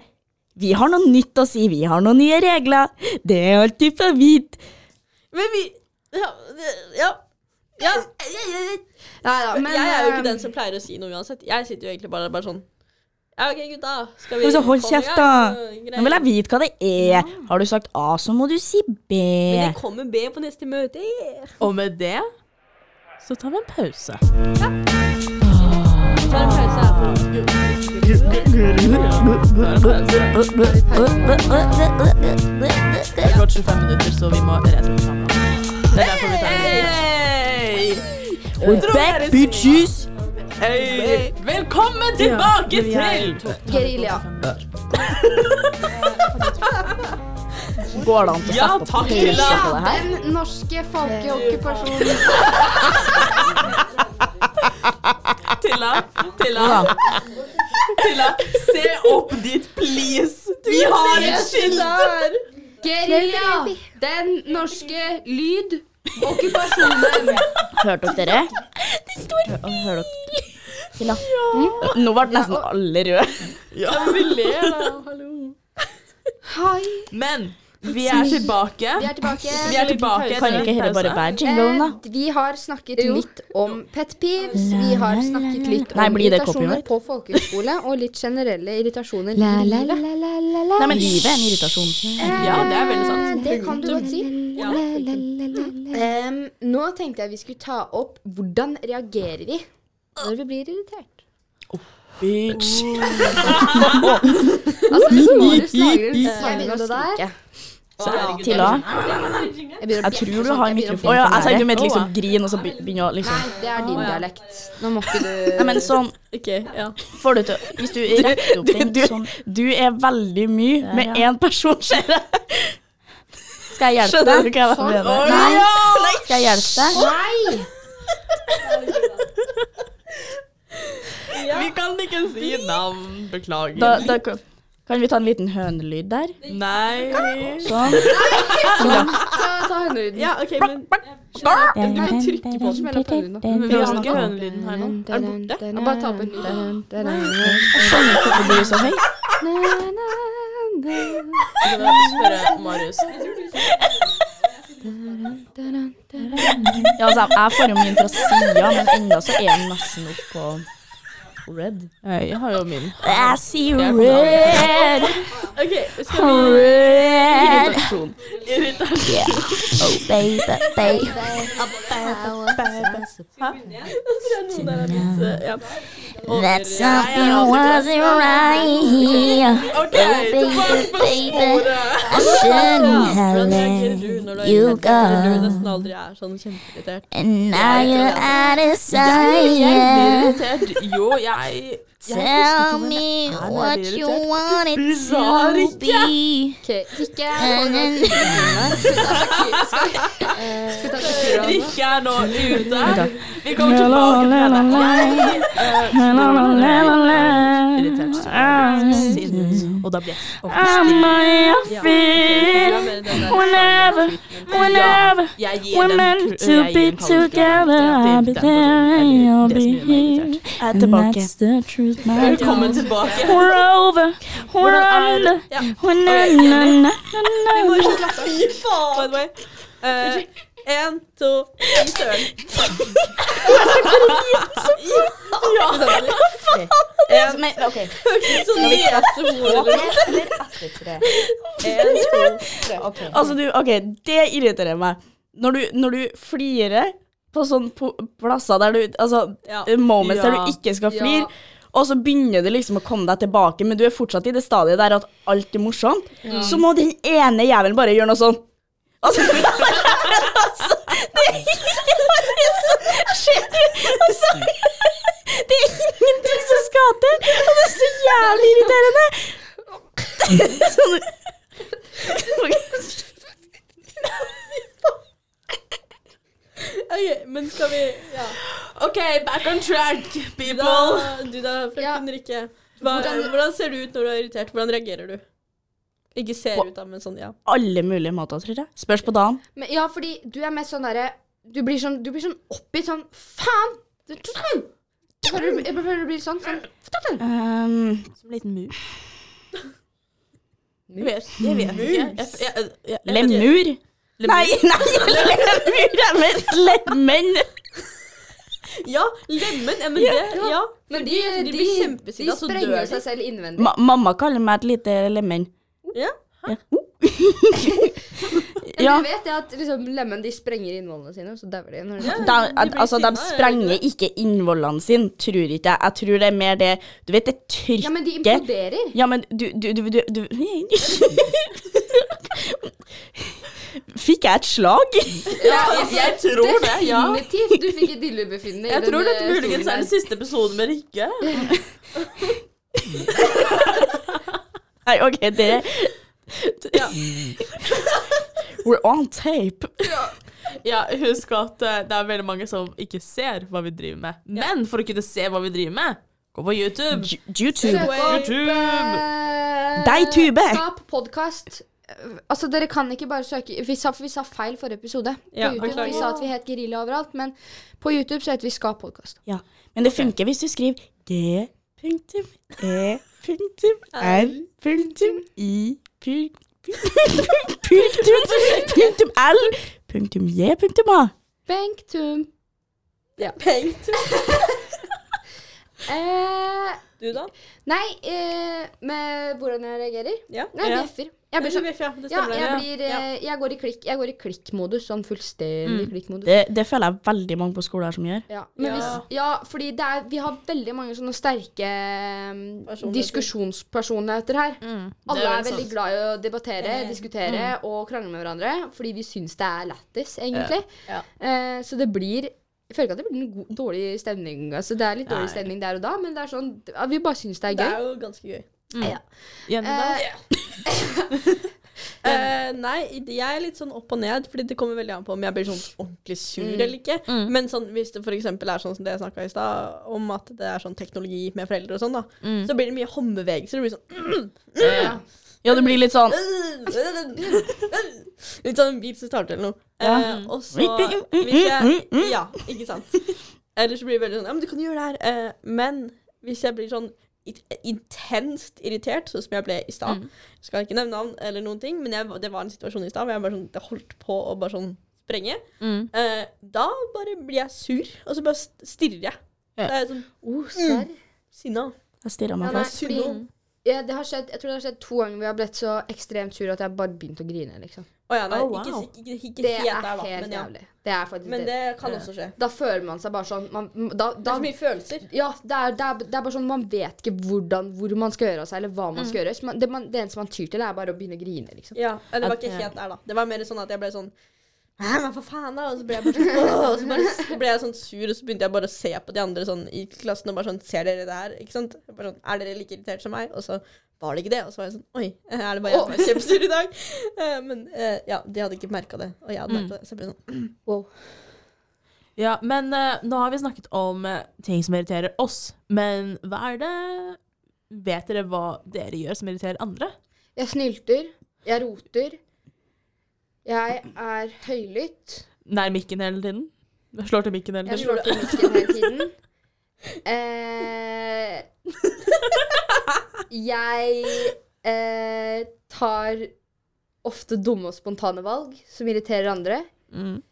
S3: 'Vi har noe nytt å si, vi har noen nye regler'. Det er alltid for vidt.
S6: Men vi Ja. det- ja. ja.
S5: Neida, men,
S6: jeg er jo ikke
S5: eh,
S3: ehm,
S6: den som pleier å si noe uansett. Jeg sitter jo egentlig bare, bare sånn Ja, OK, gutta. Skal vi
S3: Men så hold
S6: komme i gang?»
S3: kjeft, da.
S6: Og greier.
S3: Nå vil jeg vite hva det er. Har du sagt A, så må du si B.
S6: Men det kommer B på neste møte.
S7: Og med det så tar vi en pause.
S6: Så er det pause her.
S7: Det er klart 25 minutter, så vi må rett på kamera. Det er derfor vi tar en
S3: We're back, bitches!
S7: hey! Velkommen tilbake til
S5: Gerilja.
S3: Går det an til å
S7: Ja,
S3: sette opp
S7: takk,
S3: pris
S7: Tilla.
S3: på det her?
S5: Den norske folkeokkupasjonen.
S7: Tilla. Tilla. Tilla, se opp dit, please! Vi har et skilt!
S5: Gerilja! Den norske lyd. Okkupasjonen.
S3: Hørte dere? Det står fil! Tilla. Mm? Nå ble nesten alle røde.
S5: Hei.
S7: Men vi er tilbake.
S5: Vi er tilbake.
S7: Vi er tilbake
S3: Kan
S7: etter
S3: ikke
S7: en
S3: dette bare
S7: pause.
S3: være jinglen, da?
S5: Eh, vi har snakket litt om pet peeves. Vi har snakket litt om
S3: Nei, blir det
S5: irritasjoner
S3: copyright?
S5: på folkehøyskole, og litt generelle irritasjoner i livet.
S3: Nei, men livet er en irritasjon.
S7: Ja, det er veldig sant.
S5: Eh, Det kan du godt si. Em, nå tenkte jeg vi skulle ta opp hvordan reagerer vi når vi blir irritert.
S3: Bitch.
S5: Altså, hvis Marius lager en sang av det der
S3: Tilla,
S5: begynner å
S3: jeg
S5: bjeffe
S3: tror
S5: sånn, jeg
S3: du har
S5: begynner å
S3: mikrofon. Å ja, jeg
S5: bjeffe
S3: tenkte du mente
S7: Å, ja.
S3: liksom grin, og så be- begynner å liksom
S5: Nei, det er din dialekt. Nå må ikke du
S3: Nei, men sånn
S6: Ok, ja.
S3: får du til Hvis du retter opp
S7: du-
S3: den sånn
S7: Du er veldig mye
S3: med
S7: én person, ser jeg.
S3: Skal jeg hjelpe
S8: Skjønner du
S3: deg?
S8: hva jeg mener?
S3: Nei. Skal jeg hjelpe deg?
S5: Nei!
S8: Vi kan ikke si navn. Beklager.
S3: Da, da kan kan vi ta en liten hønelyd der?
S8: Nei.
S3: Sånn.
S5: Ta, ta hønelyden.
S6: Ja, ok, men
S5: Du kan
S9: trykke på den.
S5: Smell opp hønelyden.
S7: Men vi har ikke hønelyden her nå.
S5: Er den borte? Ja, bare ta opp en
S3: Jeg skjønner ikke hvorfor du er så høy.
S5: lyd.
S6: du må spørre Marius.
S3: Ja, altså, jeg får jo min fra sida, men enda så er den nesten oppå red.
S7: Jeg har jo min.
S3: I see red,
S6: Ok, skal vi
S3: red.
S6: Irritasjon.
S3: Oh, baby, baby.
S6: Jeg tror noen der er litt eh, ja.
S3: That something wasn't right here. baby, baby. I shouldn't have
S6: Hvordan reagerer
S3: let
S6: du når du er
S3: you
S6: irritert, eller du
S3: go.
S6: nesten aldri er sånn kjempeirritert?
S3: And now you're out of
S7: Jeg
S3: sight.
S7: blir irritert. Jo, jeg
S3: Tell me what you wanted to be.
S5: Ok, Rikke
S3: And then-
S7: Rikke er nå ute. Vi kommer tilbake til henne. Jeg, eh, når jeg er irritert, så er jeg sint, og da blir jeg stille.
S6: Ja, okay. Ja, men den der sangen,
S7: Ja, jeg gir den jeg gir den kalde kvelden. Det er den personen. Det er det som gjør meg irritert.
S3: Jeg er tilbake.
S7: Velkommen tilbake.
S3: Hvordan er det?
S6: Ja.
S3: Vi må ikke
S6: Fy faen! By the way. Eh, En, to, fy søren. Ja.
S3: Men, ok.
S6: Så nese hodet. En, to,
S3: Altså, du, ok, det irriterer meg. Når du, når du flirer på sånne po- plasser der du Altså,
S6: Ja.
S3: moments der
S7: Ja.
S3: du ikke skal flire. Og så begynner det liksom å komme deg tilbake, men du er fortsatt i det stadiet der at alt er morsomt.
S7: Mm.
S3: Så må den ene jævelen bare gjøre noe sånn. Altså, altså Det er ingen Ser du? Altså, det er ingenting som skal til, og det er så jævlig irriterende. Sånn
S6: Ok, men skal vi ja.
S7: OK, back on track,
S6: da,
S7: people.
S6: Du da,
S5: Ja.
S6: frøken Rikke. Hva,
S5: Hvordan-
S6: hvordan ser du ut når du er irritert? Hvordan reagerer du? Ikke ser ut, da, men sånn, ja.
S3: alle mulige måter, tror jeg. Spørs på dagen.
S5: Men ja, fordi du er mest sånn derre du, blir sånn, du blir sånn oppgitt sånn Faen! Du- du- du- Jeg føler jeg føler du blir sånn. sånn
S3: Um,
S7: Som en liten mus. Jeg vet, jeg vet ikke. Jeg, jeg, jeg, jeg,
S3: lemur? Nei, nei, lemur! Jeg mente lemen.
S6: Ja, lemen, ja, men det, ja.
S5: men de,
S6: de- de
S5: de,
S6: blir
S5: de,
S6: kjempesinna, så
S5: sprenger
S6: dør de.
S5: seg selv innvendig.
S3: Ma mamma kaller meg et lite lemen.
S6: Ja.
S3: Ja.
S5: Men
S3: ja.
S5: du vet det at liksom, lemmen de sprenger innvollene sine, og så dauer de. Når de
S3: De, altså, de sprenger ikke innvollene sine, tror ikke jeg. Jeg tror det er mer det Du vet, det trykket
S5: ja, men de imploderer.
S3: Ja, men du, du, du, du, du. Fikk jeg et slag?
S5: Ja, jeg,
S7: tror det, ja.
S5: Definitivt. Du fikk et dildobefinnende. i
S7: jeg
S5: den,
S7: tror dette
S5: eh,
S7: muligens er
S5: stolen
S7: den
S5: der.
S7: siste episoden med Rikke.
S3: Nei, OK, det We're on tape.
S7: Ja, Husk at eh, det er veldig mange som ikke ser hva vi driver med. Men for å kunne se hå vi driver med, gå på YouTube.
S3: Ju- YouTube.
S5: Søk opp,
S7: YouTube.
S5: eh,
S3: Deg, Tube.
S5: Skap podkast. Altså, dere kan ikke bare søke Vi sa, for vi sa feil forrige episode. På
S6: Ja,
S5: YouTube,
S6: beklager.
S5: Vi sa at vi het Gerilja overalt, men på YouTube så heter vi Skap podkast.
S3: Ja, men det funker hvis du skriver G punktum E punktum R punktum I punk- punktum punktum L punktum J punktum A.
S5: Benktum.
S6: ja. Pengt.
S5: Eh,
S6: Du, da?
S5: nei, eh, med hvordan jeg reagerer?
S6: Ja.
S5: Nei,
S6: ja.
S5: bjeffer. Jeg blir
S6: Ja, du
S5: sånn
S6: bjeffer, ja, det
S5: Ja,
S6: stemmer.
S5: jeg,
S6: det.
S5: blir, eh, jeg går i klikk Jeg går i klikkmodus, sånn fullstendig klikkmodus.
S3: Det, det føler jeg veldig mange på skoler som gjør.
S5: Ja, men
S6: Ja.
S5: Hvis, ja fordi det er, vi har veldig mange sånne sterke mm,
S6: Personligheter.
S5: diskusjonspersonligheter her.
S3: Mm.
S5: Alle
S7: det er
S5: er,
S7: veldig
S5: veldig
S7: sant.
S5: glad i å debattere, diskutere og krangle med hverandre. Fordi vi syns det er lættis, egentlig.
S6: Ja.
S5: Eh, så det blir jeg føler ikke at det blir en god, dårlig stemning. Altså, det er litt dårlig
S7: Nei.
S5: stemning der og da, men det er sånn, ja, vi bare syns det er Mm. Eh, gøy.
S6: Det er
S3: Eh,
S6: jo ganske gøy.
S7: Jenny, da?
S5: Eh,
S6: Eh, nei, jeg er litt sånn opp og ned, fordi det kommer veldig an på om jeg blir sånn ordentlig sur eller ikke. Men sånn, hvis det f.eks. er sånn som det jeg snakka i stad, om at det er sånn teknologi med foreldre og sånn, da, så blir det mye håndbevegelser. Det blir sånn
S3: Ja, det blir litt sånn
S6: Litt sånn en bil som starter eller noe.
S3: Ja.
S6: Eh, og så
S8: Mm,
S6: hvis jeg Ja, ikke sant. Eller så blir det veldig sånn Ja, men du kan gjøre det her. Eh, men hvis jeg blir sånn it- intenst irritert, sånn som jeg ble i stad
S8: Mm.
S6: Skal ikke nevne navn eller noen ting, men jeg, det var en situasjon i stad hvor jeg bare sånn, det holdt på å bare sånn sprenge. Eh, da bare blir jeg sur, og så bare st- stirrer jeg. Det er sånn
S5: Oh, serr.
S6: sinna.
S3: Jeg stirrer
S5: Ja,
S3: meg
S5: nei,
S3: fast.
S5: fordi, ja, det har skjedd, jeg tror det har skjedd to ganger hvor jeg har blitt så ekstremt sur at jeg bare begynte å grine. liksom.
S6: Å ja, nei,
S8: Oh, wow.
S6: ikke, ikke, ikke,
S5: Det er
S6: helt der, da.
S5: helt
S6: Men, ja.
S5: jævlig. Det er faktisk
S6: men
S5: det.
S6: det kan også skje.
S5: Da føler man seg bare sånn man, da,
S6: Det
S5: da,
S6: er så mye følelser.
S5: Ja, det er, det, er, det er bare sånn Man vet ikke hvordan, hvor man skal gjøre av seg, eller hva man skal gjøre. Så man, det, man, det eneste man tyr til, er bare å begynne å grine. liksom.
S6: Mm. Ja, det var ikke helt der, da. Det var mer sånn at jeg ble sånn Hæ, men for faen, da? Og så ble jeg bare sånn, «Åh», og så bare, så ble jeg sånn sur, og så begynte jeg bare å se på de andre sånn i klassen og bare sånn Ser dere det her? Ikke sant? Jeg Bare sånn, er dere like irritert som meg? Og så var det ikke det. Og så var jeg sånn Oi, er det bare jeg som er kjempesur i dag? Eh, Men eh, ja, de hadde ikke merka det, og jeg hadde merka det. Så jeg ble sånn
S5: Wow.
S7: Ja, men eh, nå har vi snakket om eh, ting som irriterer oss. Men hva er det Vet dere hva dere gjør som irriterer andre?
S5: Jeg snylter. Jeg roter. Jeg er høylytt.
S7: Nær mikken hele tiden? Slår til mikken hele
S5: Jeg
S7: tiden?
S5: slår til mikken hele tiden. Eh, jeg eh, tar ofte dumme og spontane valg som irriterer andre.
S7: Mm.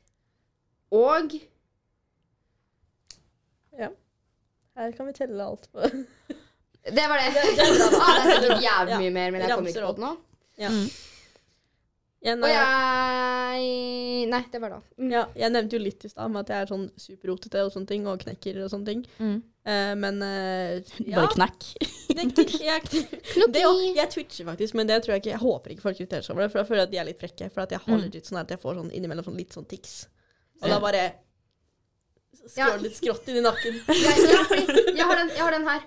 S5: Og
S6: Her kan vi telle alt på
S5: Det var det. Ah, det er sikkert jævlig mye mer, men jeg kommer
S6: Ramser
S5: ikke på
S6: opp.
S5: det nå.
S6: Ja,
S5: Og
S6: nei,
S5: jeg Nei, det var da. Mm.
S6: Ja, jeg nevnte jo litt i stad om at jeg er sånn superrotete og sånne ting, og knekker og sånne ting.
S7: Mm.
S6: Eh, men eh, ja,
S3: Bare knekk.
S6: knekker. Jeg, det, også- jeg twitcher faktisk, men det tror jeg ikke Jeg håper ikke folk irriterer seg over det, for da føler jeg at de er litt frekke. For at jeg har legit sånn her at jeg får sånn innimellom sånn litt sånn tics. Og da bare
S5: Ja.
S6: skrår litt skrått inn i nakken.
S5: Jeg, ja, fordi jeg, har den, jeg har den her.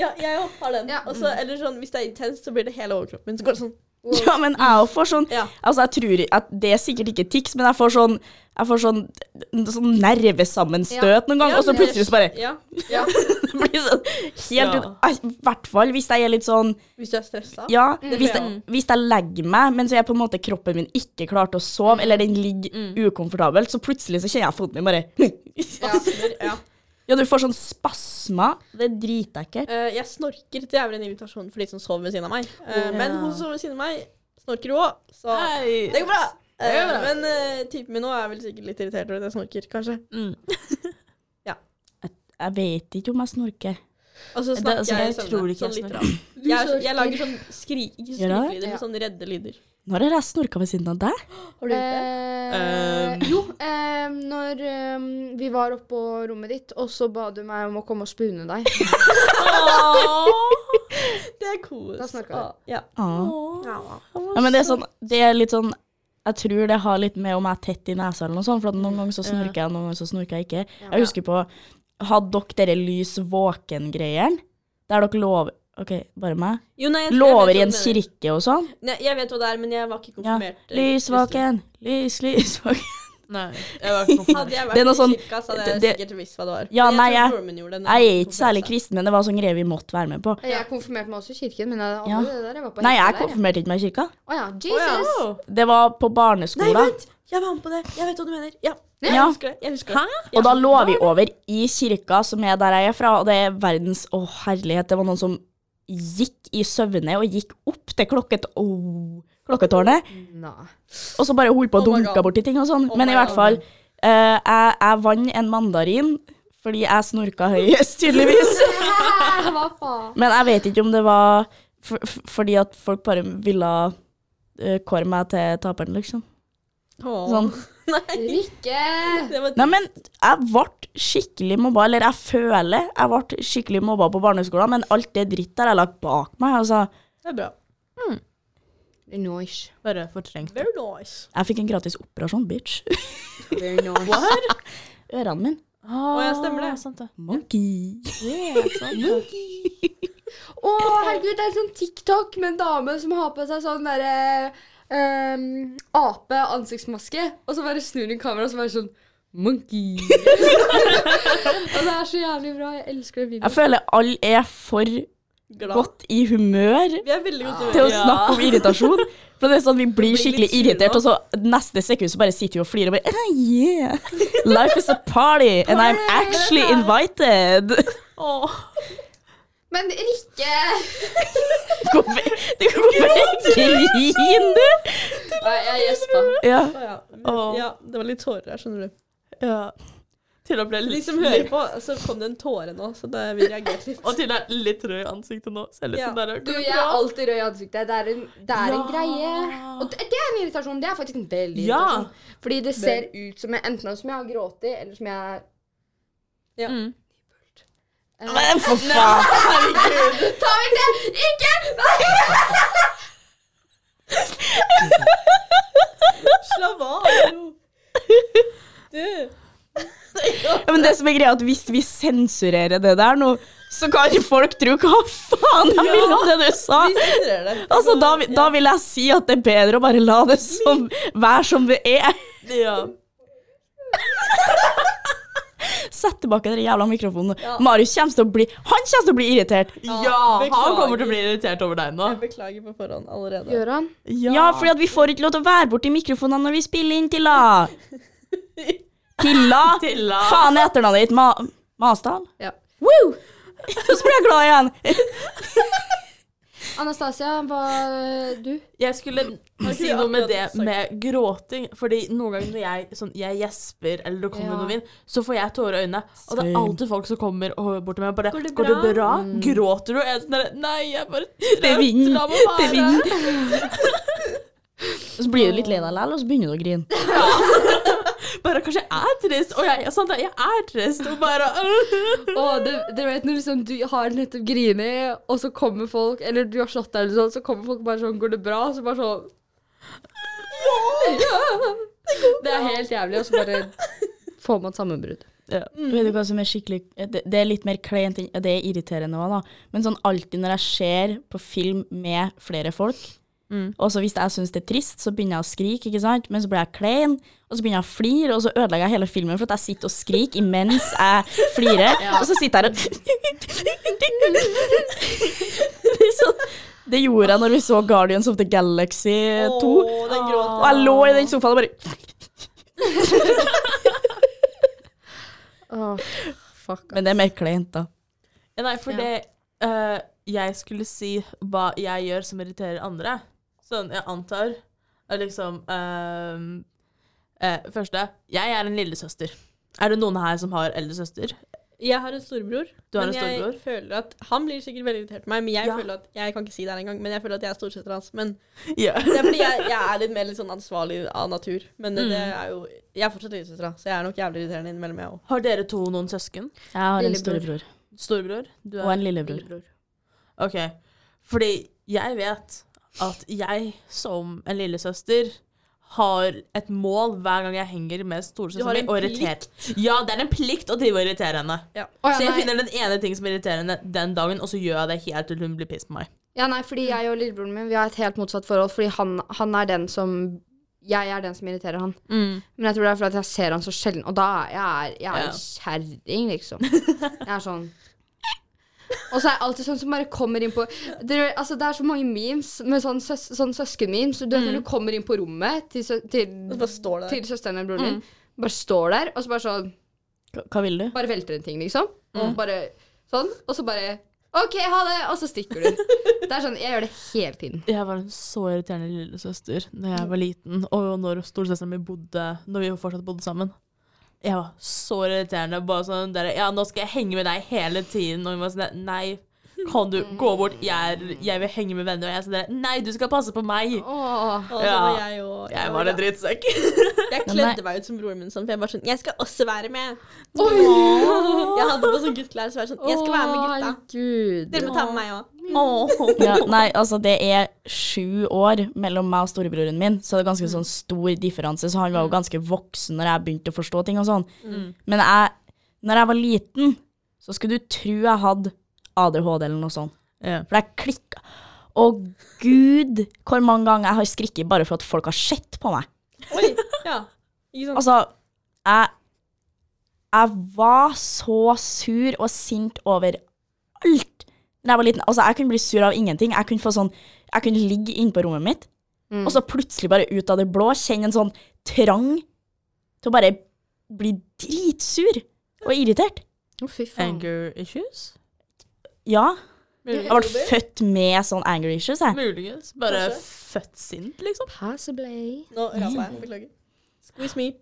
S6: Ja, jeg òg har den.
S5: Ja.
S6: Og så, eller sånn, hvis det er intenst, så blir det hele overkroppen min. Så går det sånn.
S3: Ja, men jeg får sånn
S6: Ja.
S3: Altså, jeg tror at Det er sikkert ikke tics, men jeg får sånn Jeg får sånn, sånn nervesammenstøt noen ganger,
S6: Ja,
S3: og så
S6: men-
S3: plutselig så bare
S6: Ja.
S5: Ja.
S3: det blir sånn helt
S7: Ja.
S3: ut Ai, I hvert fall hvis jeg er litt sånn
S6: Hvis du er stressa.
S3: Ja,
S6: Det
S3: hvis,
S6: tror
S3: jeg,
S6: jeg
S3: hvis jeg legger meg, men så er på en måte kroppen min ikke klar til å sove, eller den ligger ukomfortabelt, så plutselig så kjenner jeg foten min bare
S5: Ja.
S6: Ja.
S3: Ja, du får sånn spasmer. Det er dritekkelt.
S6: Eh, jeg snorker. Det er vel en invitasjon for de som sover ved siden av meg. Eh, Men hun som sover ved siden av meg, snorker hun òg, så
S7: Hei!
S6: det går bra. Eh,
S7: Det går bra.
S6: men eh, typen min nå er vel sikkert litt irritert over at jeg snorker, kanskje.
S3: Jeg vet ikke om jeg snorker.
S6: Og så snakker
S7: Det- altså,
S6: jeg
S7: jeg
S6: i søvne.
S7: tror ikke jeg
S6: sånn litt
S7: snorker.
S6: rart. Jeg, er sånn- jeg
S5: snorker.
S6: lager sånn skrik, ikke
S3: Gjør du det?
S6: skrikelyder, men sånn redde lyder.
S3: Når har jeg snorka ved siden av deg?
S6: Har du gjort det?
S5: Eh, jo, eh, når eh, vi var oppå rommet ditt, og så ba du meg om å komme og spune deg.
S6: Det er kos.
S5: Da snorker du.
S6: Ah, Ja.
S3: Ah.
S6: Ja.
S3: Ja, men det er sånn Det er litt sånn jeg tror det har litt med om jeg er tett i nesa eller noe sånt, for at noen ganger så snorker jeg, noen ganger så snorker jeg ikke. Jeg husker på Hadde dere dere lys våken-greien? Der dere lover OK, bare meg?
S6: Jo, nei, jeg- jeg vet
S3: Lover i
S6: hva
S3: en
S6: du mener.
S3: kirke og sånn?
S6: Nei, jeg vet hva det er, men jeg var ikke
S3: Ja.
S6: konfirmert. eh, kristen.
S3: Lysvaken, lys, lysvaken.
S7: Nei, jeg var ikke
S6: Hadde
S7: konfirmert.
S6: jeg vært
S3: Det er noe
S6: i
S3: sånn-
S6: kirka, så hadde jeg
S3: det-
S6: sikkert visst hva det var.
S3: Ja,
S6: Men
S3: nei,
S6: jeg,
S3: jeg-
S6: tror nordmenn gjorde det når
S3: Jeg
S6: de
S3: er
S6: kom
S3: ikke særlig
S6: fra seg.
S3: kristen, men det var sånn greie vi måtte være med på.
S5: Eh, Jeg konfirmerte meg også i kirken, men jeg,
S3: Ja.
S5: aldri det der, jeg var på
S3: Nei, jeg
S5: hytta der.
S3: konfirmerte ikke meg i kirka.
S5: Å ja, Jesus!
S3: Det var på
S6: Nei,
S3: barneskolen,
S6: vent! Jeg var med på det. Jeg vet hva du mener. Ja,
S3: Ja.
S6: jeg husker det. Jeg husker det.
S3: og da lå vi over i kirka, som er der jeg er fra, og det er verdens Å, herlighet, det var noen som gikk i søvne og gikk opp til klokket, oh, klokketårnet,
S5: Nei.
S3: og så bare holdt på å
S6: Oh my
S3: dunke
S6: God.
S3: borti ting og sånn.
S6: Oh
S3: Men
S6: my
S3: i hvert
S6: God.
S3: fall, eh, jeg, jeg vant en mandarin fordi jeg snorka høyest, tydeligvis.
S5: Hva faen?
S3: Men jeg vet ikke om det var for, for, fordi at folk bare ville eh, kåre meg til taperen, liksom.
S6: Åh.
S3: Sånn.
S5: Rikke!
S6: Det var
S3: Nei, men jeg ble skikkelig mobba, eller jeg føler jeg ble skikkelig mobba på barneskolen, men alt det dritt der har jeg lagt bak meg. Altså,
S6: Det er bra.
S5: Noise.
S7: Bare fortrengt.
S6: Very nice.
S3: jeg fikk en gratis operasjon, bitch.
S5: Very nice.
S3: Ørene mine.
S7: Å,
S6: ja, stemmer det.
S7: Sant det.
S3: Monkey. Mm.
S5: Å, herregud, det er en sånn TikTok med en dame som har på seg sånn derre ehm, ape ansiktsmaske, og så bare snur hun kameraet og så bare sånn Monkey. og det er så jævlig bra. Jeg elsker den
S3: Jeg
S5: videoen.
S3: føler alle er for godt i humør
S6: Vi er veldig godt
S3: til å snakke om irritasjon. For det er sånn Vi blir
S6: litt
S3: skikkelig
S6: sure
S3: irritert,
S6: nå.
S3: og så neste sekund så bare sitter vi og flirer. Og bare, ah, yeah. Life is a party, and I'm actually invited.
S5: Men Rikke
S3: Hvorfor hvorfor griner du?
S5: Nei, jeg gjespa.
S3: Ja.
S6: ja.
S3: Åh.
S6: ja, det var litt tårer her, skjønner du.
S3: ja.
S8: Til å bli
S6: De
S8: litt,
S6: som hører på, så kom det en tåre nå, så det, vi reagerte litt.
S8: og til å være litt rød i ansiktet nå. Så er det litt
S6: Ja.
S8: sånn der,
S5: Du, jeg er alltid rød i ansiktet. Det er en, det er en greie. Og det, det er en irritasjon. Det er faktisk en veldig
S8: Ja.
S5: irritasjon. Fordi det ser ut som jeg, enten som jeg har grått i, eller som jeg
S6: Ja.
S8: Mm.
S5: Eh,
S3: Men for faen.
S5: Ta vekk det! Ikke!
S6: Slapp av, hallo. Du.
S3: Ja, men det som er greia er at Hvis vi sensurerer det der nå, så kan folk tro hva faen jeg vil om det du sa.
S6: Vi sendrer det.
S3: Altså, da, vi- da vil jeg si at det er bedre å bare la det som, være som det er.
S8: Ja.
S3: Sett tilbake den jævla mikrofonen.
S6: Ja.
S3: Marius kommer til å bli Han kommer til å bli irritert.
S8: ja, han
S6: beklager.
S8: kommer til å bli irritert over deg nå.
S6: Jeg beklager på forhånd allerede.
S5: Gøran,
S3: Ja, fordi at vi får ikke lov til å være borti mikrofonene når vi spiller inn Tilla. Tilla?
S8: Tilla.
S3: Faen er etternavnet ditt. Ma Masdal?
S5: Ja.
S3: Woo! Så blir jeg glad igjen.
S5: Anastasia, hva du?
S8: Jeg skulle si
S6: ikke
S8: noe med
S6: akkurat
S8: det
S6: sagt?
S8: med gråting. Fordi noen ganger når jeg, sånn, jeg gjesper eller det kommer
S5: Ja.
S8: noe vind, så får jeg tårer i øynene. Og det er
S3: Same.
S8: alltid folk som kommer og bort til meg og bare
S6: Går det
S8: 'Går det
S6: bra? Mm.
S8: bra? Gråter du?' Og jeg er sånn der, 'Nei, jeg er bare trøtt.
S3: Det er vind.
S8: La meg
S3: Det er
S8: være.»
S3: vind. Så blir du litt lei deg likevel, og så begynner du å grine.
S8: Bare 'Kanskje jeg er trist?' Og jeg, sånn, jeg er trist. Og bare
S5: Å, det- Dere vet når liksom, du har nettopp grinet, og så kommer folk Eller du har slått deg, eller sånn, så kommer folk bare sånn 'Går det bra?' Og så bare sånn ja. Det er helt jævlig, og så bare får man sammenbrudd.
S3: Vet du hva som er skikkelig eh, Det, det er litt mer kleint enn Det er irriterende òg, da. Men sånn alltid når jeg ser på film med flere folk, og så hvis jeg syns det er trist, så begynner jeg å skrike, ikke sant? Men så blir jeg klein, og så begynner jeg å flire, og så ødelegger jeg hele filmen for at jeg sitter og skriker imens jeg flirer, og så sitter jeg her og Det er sånn det gjorde jeg når vi så Guardians of the Galaxy
S8: Eh,
S3: 2.
S6: Åh, den gråten.
S3: og jeg lå i den sofaen og bare
S5: Åh, fuck.
S3: Men det er mer kleint, da.
S8: Ja, Nei, for det eh, jeg skulle si hva jeg gjør som irriterer andre. Sånn, jeg antar er liksom eh, eh, Første, jeg er en lillesøster. Er det noen her som har eldresøster?
S6: Jeg har en storbror.
S8: Du har
S6: men
S8: en storbror?
S6: Jeg føler at, han blir sikkert veldig irritert på meg, men jeg
S8: Ja.
S6: føler at jeg kan ikke si det her engang. Men jeg føler at jeg er storesøster hans. Men
S8: Ja.
S6: det er fordi jeg, jeg er litt mer litt sånn ansvarlig av natur. Men
S8: Mm.
S6: det, det er jo Jeg er fortsatt lillesøstera, så jeg er nok jævlig irriterende innimellom, jeg òg.
S8: Har dere to noen søsken?
S3: Jeg har en
S5: Lillebror.
S3: storebror
S8: Storebror? Du
S3: og en lillebror.
S8: OK. Fordi jeg vet at jeg som en lillesøster har et mål hver gang jeg henger med
S6: Du har
S8: storesøsteren
S6: en
S8: min og irriterer. Ja, det er en plikt å drive og irritere henne.
S5: Å, ja,
S8: Så jeg
S5: nei.
S8: finner den ene ting som er irriterende den dagen, og så gjør jeg det helt til hun blir piss på meg.
S5: Ja, nei, fordi jeg og lillebroren min Vi har et helt motsatt forhold, fordi han, han er den som Jeg er den som irriterer han.
S6: Mm.
S5: Men jeg tror det er fordi at jeg ser han så sjelden, og da er jeg, jeg er
S8: Ja.
S5: en kjerring, liksom. Jeg er sånn Og så er jeg alltid sånn som bare kommer inn på Dere, altså, Det er så mange memes med sånn, søs, sånn søskenmemes. Du vet når du kommer inn på rommet til, sø-
S6: Mm. Og
S5: til,
S6: så bare står Mm. det der.
S5: til søsteren eller broren din, bare står der, og så bare sånn
S3: Hva- Hva vil du?
S5: bare velter en ting, liksom. Og bare sånn. Og så bare OK, ha det! Og så stikker du. Det er sånn, Jeg gjør det hele tiden.
S8: Jeg var en så irriterende lillesøster da jeg var liten, og når storesøsteren min bodde Når vi fortsatt bodde sammen. Jeg var så irriterende. Bare sånn der, Ja, nå skal jeg henge med deg hele tiden. Og hun var sånn der, Nei, kan du gå bort? Jeg, er- jeg vil henge med venner. Og jeg er sånn der Nei, du skal passe på
S5: Åh.
S8: meg.
S6: Og så
S8: Ja.
S6: var jeg, og,
S8: Jeg var en drittsekk.
S6: jeg kledde meg ut som broren min, sånn, for jeg bare sånn Jeg skal også være med! Jeg hadde på sånn gutteklær, så var jeg sånn Jeg skal være med gutta.
S5: Herregud.
S6: Dere må ta med meg òg.
S3: Ja, nei, altså det er sju år mellom meg og storebroren min, så det er ganske sånn stor differanse. Så han var
S8: Mm.
S3: jo ganske voksen når jeg begynte å forstå ting og sånn. Men jeg, når jeg var liten, så skulle du tro jeg hadde ADHD eller noe sånt.
S8: Ja.
S3: For jeg klikka. Og gud, hvor mange ganger jeg har skrikket bare for at folk har sett på meg.
S6: Oi, ja. Ikke sant?
S3: Altså, jeg, jeg var så sur og sint over alt da jeg var liten. Altså, jeg kunne bli sur av ingenting. Jeg kunne, få sånn, jeg kunne ligge inne på rommet mitt,
S5: Mm.
S3: og så plutselig bare ut av det blå kjenne en sånn trang til å bare bli dritsur og irritert.
S5: Å, fy faen.
S8: Anger issues?
S3: Ja.
S6: Blir du
S3: Jeg ble
S6: homofob?
S3: født med sånn anger issues, jeg.
S8: Muligens. Bare
S6: Kanskje.
S8: født sint, liksom.
S5: Possibly.
S6: Nå rapa jeg. Beklager. Squeeze me.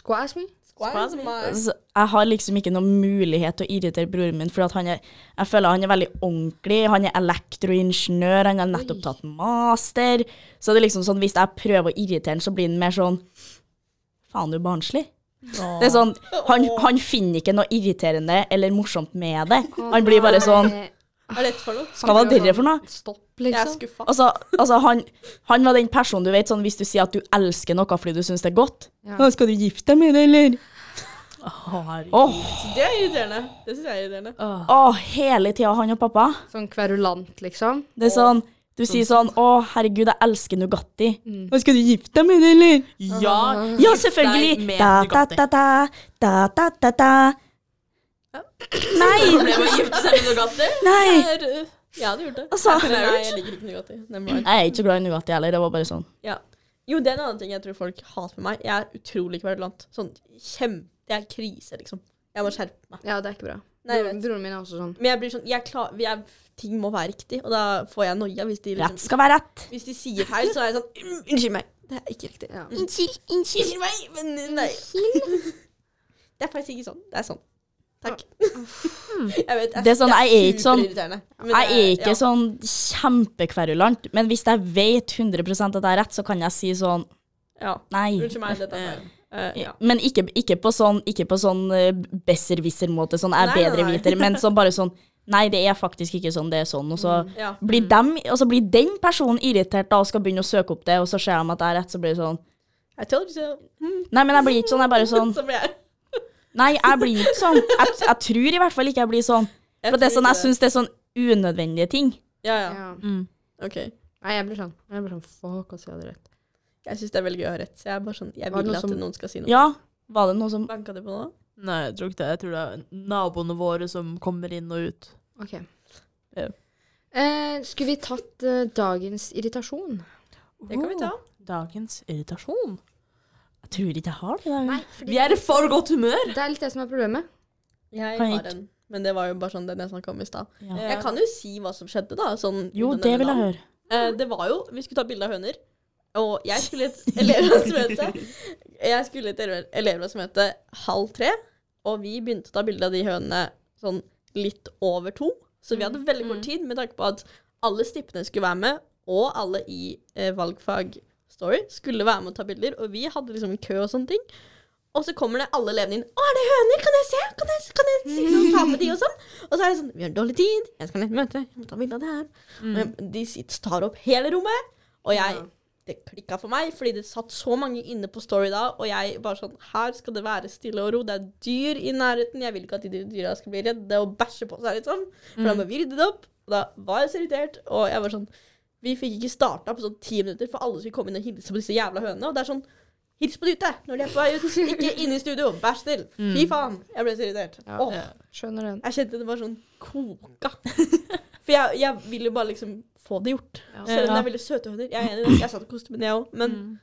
S5: Squash me.
S6: Squeeze me.
S3: Så jeg har liksom ikke noen mulighet til å irritere broren min, for at han er, jeg føler han er veldig ordentlig. Han er elektroingeniør, han har nettopp tatt master. Så det er liksom sånn, hvis jeg prøver å irritere han, så blir han mer sånn Faen, du er barnslig. Det er sånn, han, han finner ikke noe irriterende eller morsomt med det. Han blir bare sånn
S6: Hva er dette for noe?
S3: Hva var dere for noe?
S5: sånn Stopp,
S6: Jeg er
S5: liksom.
S6: skuffa.
S3: Altså, altså han, han var den personen du vet sånn, Hvis du sier at du elsker noe fordi du syns det er godt
S5: Ja.
S3: «Å, Skal du gifte deg med det, eller?
S8: Herregud.
S3: Åh,
S6: Det er irriterende. Det syns jeg er irriterende.
S3: åh, hele tida han og pappa.
S5: Sånn kverulant, liksom.
S3: Det er sånn Du sier sånn 'Å, herregud, jeg elsker Nugatti'.
S6: Mm.
S3: «Å, Skal du gifte deg med det, eller?
S8: Ja,
S3: Ja, selvfølgelig!
S8: med
S3: Da, da,
S8: Nugatti.
S3: da, da, da, da, da, da. Nei!
S6: Problemet med å gifte seg med Nugatti?
S3: Nei!
S6: er, uh, Jeg hadde gjort det.
S3: Altså.
S6: Nei, jeg liker ikke Nugatti. Den var-
S3: Jeg er ikke så glad i Nugatti heller. Det var bare sånn.
S6: Ja. Jo, det er en annen ting jeg tror folk hater med meg. Jeg er utrolig kverulant. Sånn kjempe Det er krise, liksom. Jeg må skjerpe meg.
S5: Ja, det er ikke bra.
S6: Nei, jeg
S5: Broren
S6: vet.
S5: broren min er også sånn.
S6: Men jeg blir sånn jeg klar, jeg, Ting må være riktig, og da får jeg noia hvis de
S3: Rett
S6: liksom
S3: skal være rett.
S6: Hvis de sier feil, så er jeg sånn "Mm, Unnskyld meg. Det er ikke riktig.
S5: Ja.
S6: Unnskyld, unnskyld meg, men nei. Det er faktisk ikke sånn. Det er sånn. Takk. Jeg vet,
S3: Det er sånn, jeg er ikke sånn-
S6: superirriterende, men
S3: Jeg er
S6: det
S3: ikke sånn kjempekverulant, men hvis jeg vet 100 at jeg er rett, så kan jeg si sånn
S6: Ja.
S3: Nei.
S6: Unnskyld meg, dette er feil. Eh, ja.
S3: Men ikke, ikke på sånn, ikke på sånn eh, besserwisser-måte, sånn jeg er
S6: Nei, nei,
S3: bedre
S6: nei.
S3: viter, men sånn bare sånn Nei, det er faktisk ikke sånn, det er sånn. Og så
S6: ja.
S3: blir, dem, og så blir den personen irritert da, og skal begynne å søke opp det, og så ser de at jeg er rett, så blir det sånn
S6: I told you so.
S3: Nei, men jeg blir ikke sånn. Jeg er bare sånn
S6: Så blir jeg
S3: Nei, jeg blir ikke sånn. Jeg, jeg tror i hvert fall ikke jeg blir sånn.
S6: Jeg
S3: For det er
S6: tror
S3: sånn, jeg
S6: ikke
S3: syns det er sånn unødvendige ting.
S6: Ja, ja.
S5: Ja.
S6: OK.
S5: Nei, jeg blir sånn. Jeg blir sånn, Fuck, altså, jeg hadde rett.
S6: Jeg syns det er veldig gøy å ha rett. Så jeg er bare sånn Jeg
S5: Var det
S6: vil
S5: noe
S6: at
S5: som-
S6: noen skal si noe.
S3: Ja, var det noe som
S6: Banka det på nå?
S8: Nei, jeg tror ikke det. Jeg tror det er naboene våre som kommer inn og ut.
S5: Ok.
S8: Ja.
S5: Eh, skulle vi tatt eh, dagens irritasjon?
S6: Det kan vi ta.
S8: Dagens irritasjon.
S3: Jeg tror ikke jeg har det. i dag.
S8: Vi er i for godt humør!
S5: Det er litt det som er problemet.
S6: Jeg
S3: Kan jeg
S6: har en. Men det var jo bare sånn den jeg snakka om i stad.
S3: Ja.
S6: Eh, Jeg kan jo si hva som skjedde, da. Sånn,
S3: Jo,
S6: uten å
S3: det
S6: nevne
S3: vil jeg
S6: navn.
S3: høre.
S6: Eh, Det var jo Vi skulle ta bilde av høner. Og jeg skulle i et elevrådsmøte. Jeg skulle i et eleve- elevrådsmøte halv tre, og vi begynte å ta bilde av de hønene sånn litt over to. Så vi hadde veldig kort tid med tanke på at alle stippene skulle være med, og alle i eh, valgfag Story skulle være med og ta bilder, og vi hadde liksom en kø og sånne ting. Og så kommer det alle elevene inn. 'Å, er det høner? Kan jeg se? Kan jeg, kan jeg si noe, ta med de?' Og sånn. Og så er det sånn 'Vi har dårlig tid. Jeg skal ned på møte. Jeg må ta bilde av det her.'
S5: Mm.
S6: Men de sitter, tar opp hele rommet, og jeg Det klikka for meg, fordi det satt så mange inne på Story da, og jeg bare sånn Her skal det være stille og ro. Det er dyr i nærheten. Jeg vil ikke at de dyra skal bli redde og bæsje på seg, liksom. For
S5: Mm.
S6: da må vi rydde det opp. Og da var jeg så irritert, og jeg var sånn Vi fikk ikke starta på sånn ti minutter, for alle skulle komme inn og hilse på disse jævla hønene, og det er sånn Hils på de ute når de er på vei ut. Ikke inne i studio. Vær snill. Fy faen. Jeg ble så irritert.
S5: Mm. Ja.
S6: Åh,
S5: Skjønner den.
S6: jeg kjente det var sånn koka. For jeg, jeg vil jo bare liksom få det gjort. Selv om det er veldig søte høner. Jeg er enig, i det. jeg satt i kostyme, jeg òg. Men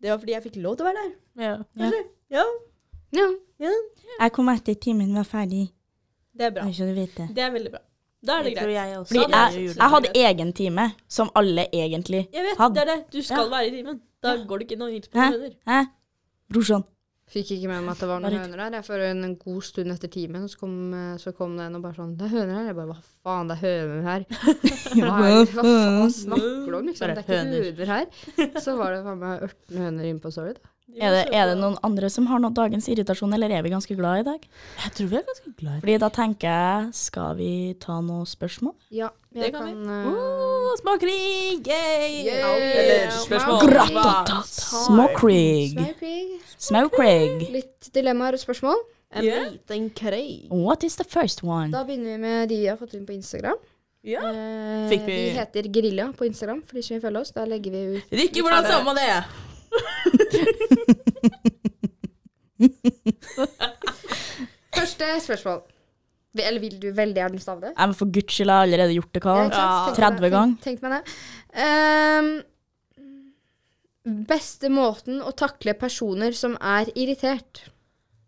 S6: det var fordi jeg fikk lov til å være der.
S8: Ja.
S6: Kanskje. Ja.
S5: Ja.
S6: ja.
S3: Jeg kom etter timen var ferdig.
S6: Det er bra.
S3: Bare så du vet det.
S6: Det er veldig bra. Da er det greit.
S8: jeg også.
S3: Fordi
S6: Sånn. Ja, det er
S3: jeg,
S6: jo
S3: jeg hadde egen time, som alle egentlig
S6: Jeg vet, det
S3: hadde.
S6: er det. Du skal være i timen. Da går det ikke noe hils på
S3: Hæ?
S6: noen høner.
S3: Hæ? Brorsan.
S5: Fikk ikke med meg at det var
S3: Var
S5: noen
S3: det-
S5: høner der. Jeg For en god stund etter timen så kom, eh, så kom det en og bare sånn 'Det er høner her.' Jeg bare 'Hva faen, det er høner her'. Hva, er, det- hva faen snakker du om? Liksom? Det er ikke høner
S8: Bare
S5: her. Så var det faen meg 18 høner inne på Sorry. Da.
S3: Er det, er det noen andre som har noe dagens irritasjon, eller er vi ganske glad i dag?
S8: Jeg tror vi er ganske glad i det.
S3: Fordi da tenker jeg, skal vi ta noen spørsmål?
S5: Ja, jeg
S6: Det kan
S5: kan, eh,
S8: Å, Småkrig! Yay!
S5: Eller spørsmål.
S3: Gratata! Småkrig!
S5: Småkrig.
S3: Småkrig!
S5: Litt dilemmaer og spørsmål.
S6: En liten krei.
S3: What is the first one?
S5: Da begynner vi med de vi har fått inn på Instagram.
S6: Ja.
S5: Eh,
S8: Fikk vi-
S5: vi heter Grilla på Instagram, for de som vil følge oss. Der legger vi ut
S8: Rikke, hvordan sa man det?
S5: Første spørsmål. Vi- Eller vil du veldig gjerne stave det?
S3: Jeg må for guds skyld, jeg har allerede gjort det, hva?
S5: Ja, ikke sant? Tenkte
S3: 30
S5: meg-
S3: gang.
S5: Tenk, tenkte meg det. Ehm, beste måten å takle personer som er irritert.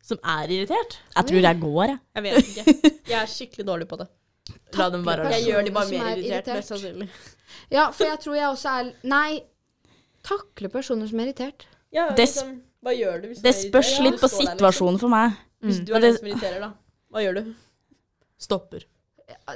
S8: Som er irritert?
S3: Jeg tror jeg går, jeg.
S6: Jeg vet ikke. Jeg er skikkelig dårlig på det.
S8: La dem være
S6: Jeg
S5: Personer
S6: gjør de bare
S5: som
S6: mer
S5: er
S6: irritert,
S5: irritert.
S6: mest sannsynlig.
S5: Ja, for jeg tror jeg også er Nei, takle personer som er irritert.
S6: Ja,
S3: Det
S6: liksom, hva gjør du hvis
S3: Det
S6: du er
S3: spørs
S6: irritert?
S3: litt på
S6: Stå der, liksom.
S3: situasjonen for meg.
S6: Hvis du er den som irriterer, da. Hva gjør du?
S8: Stopper.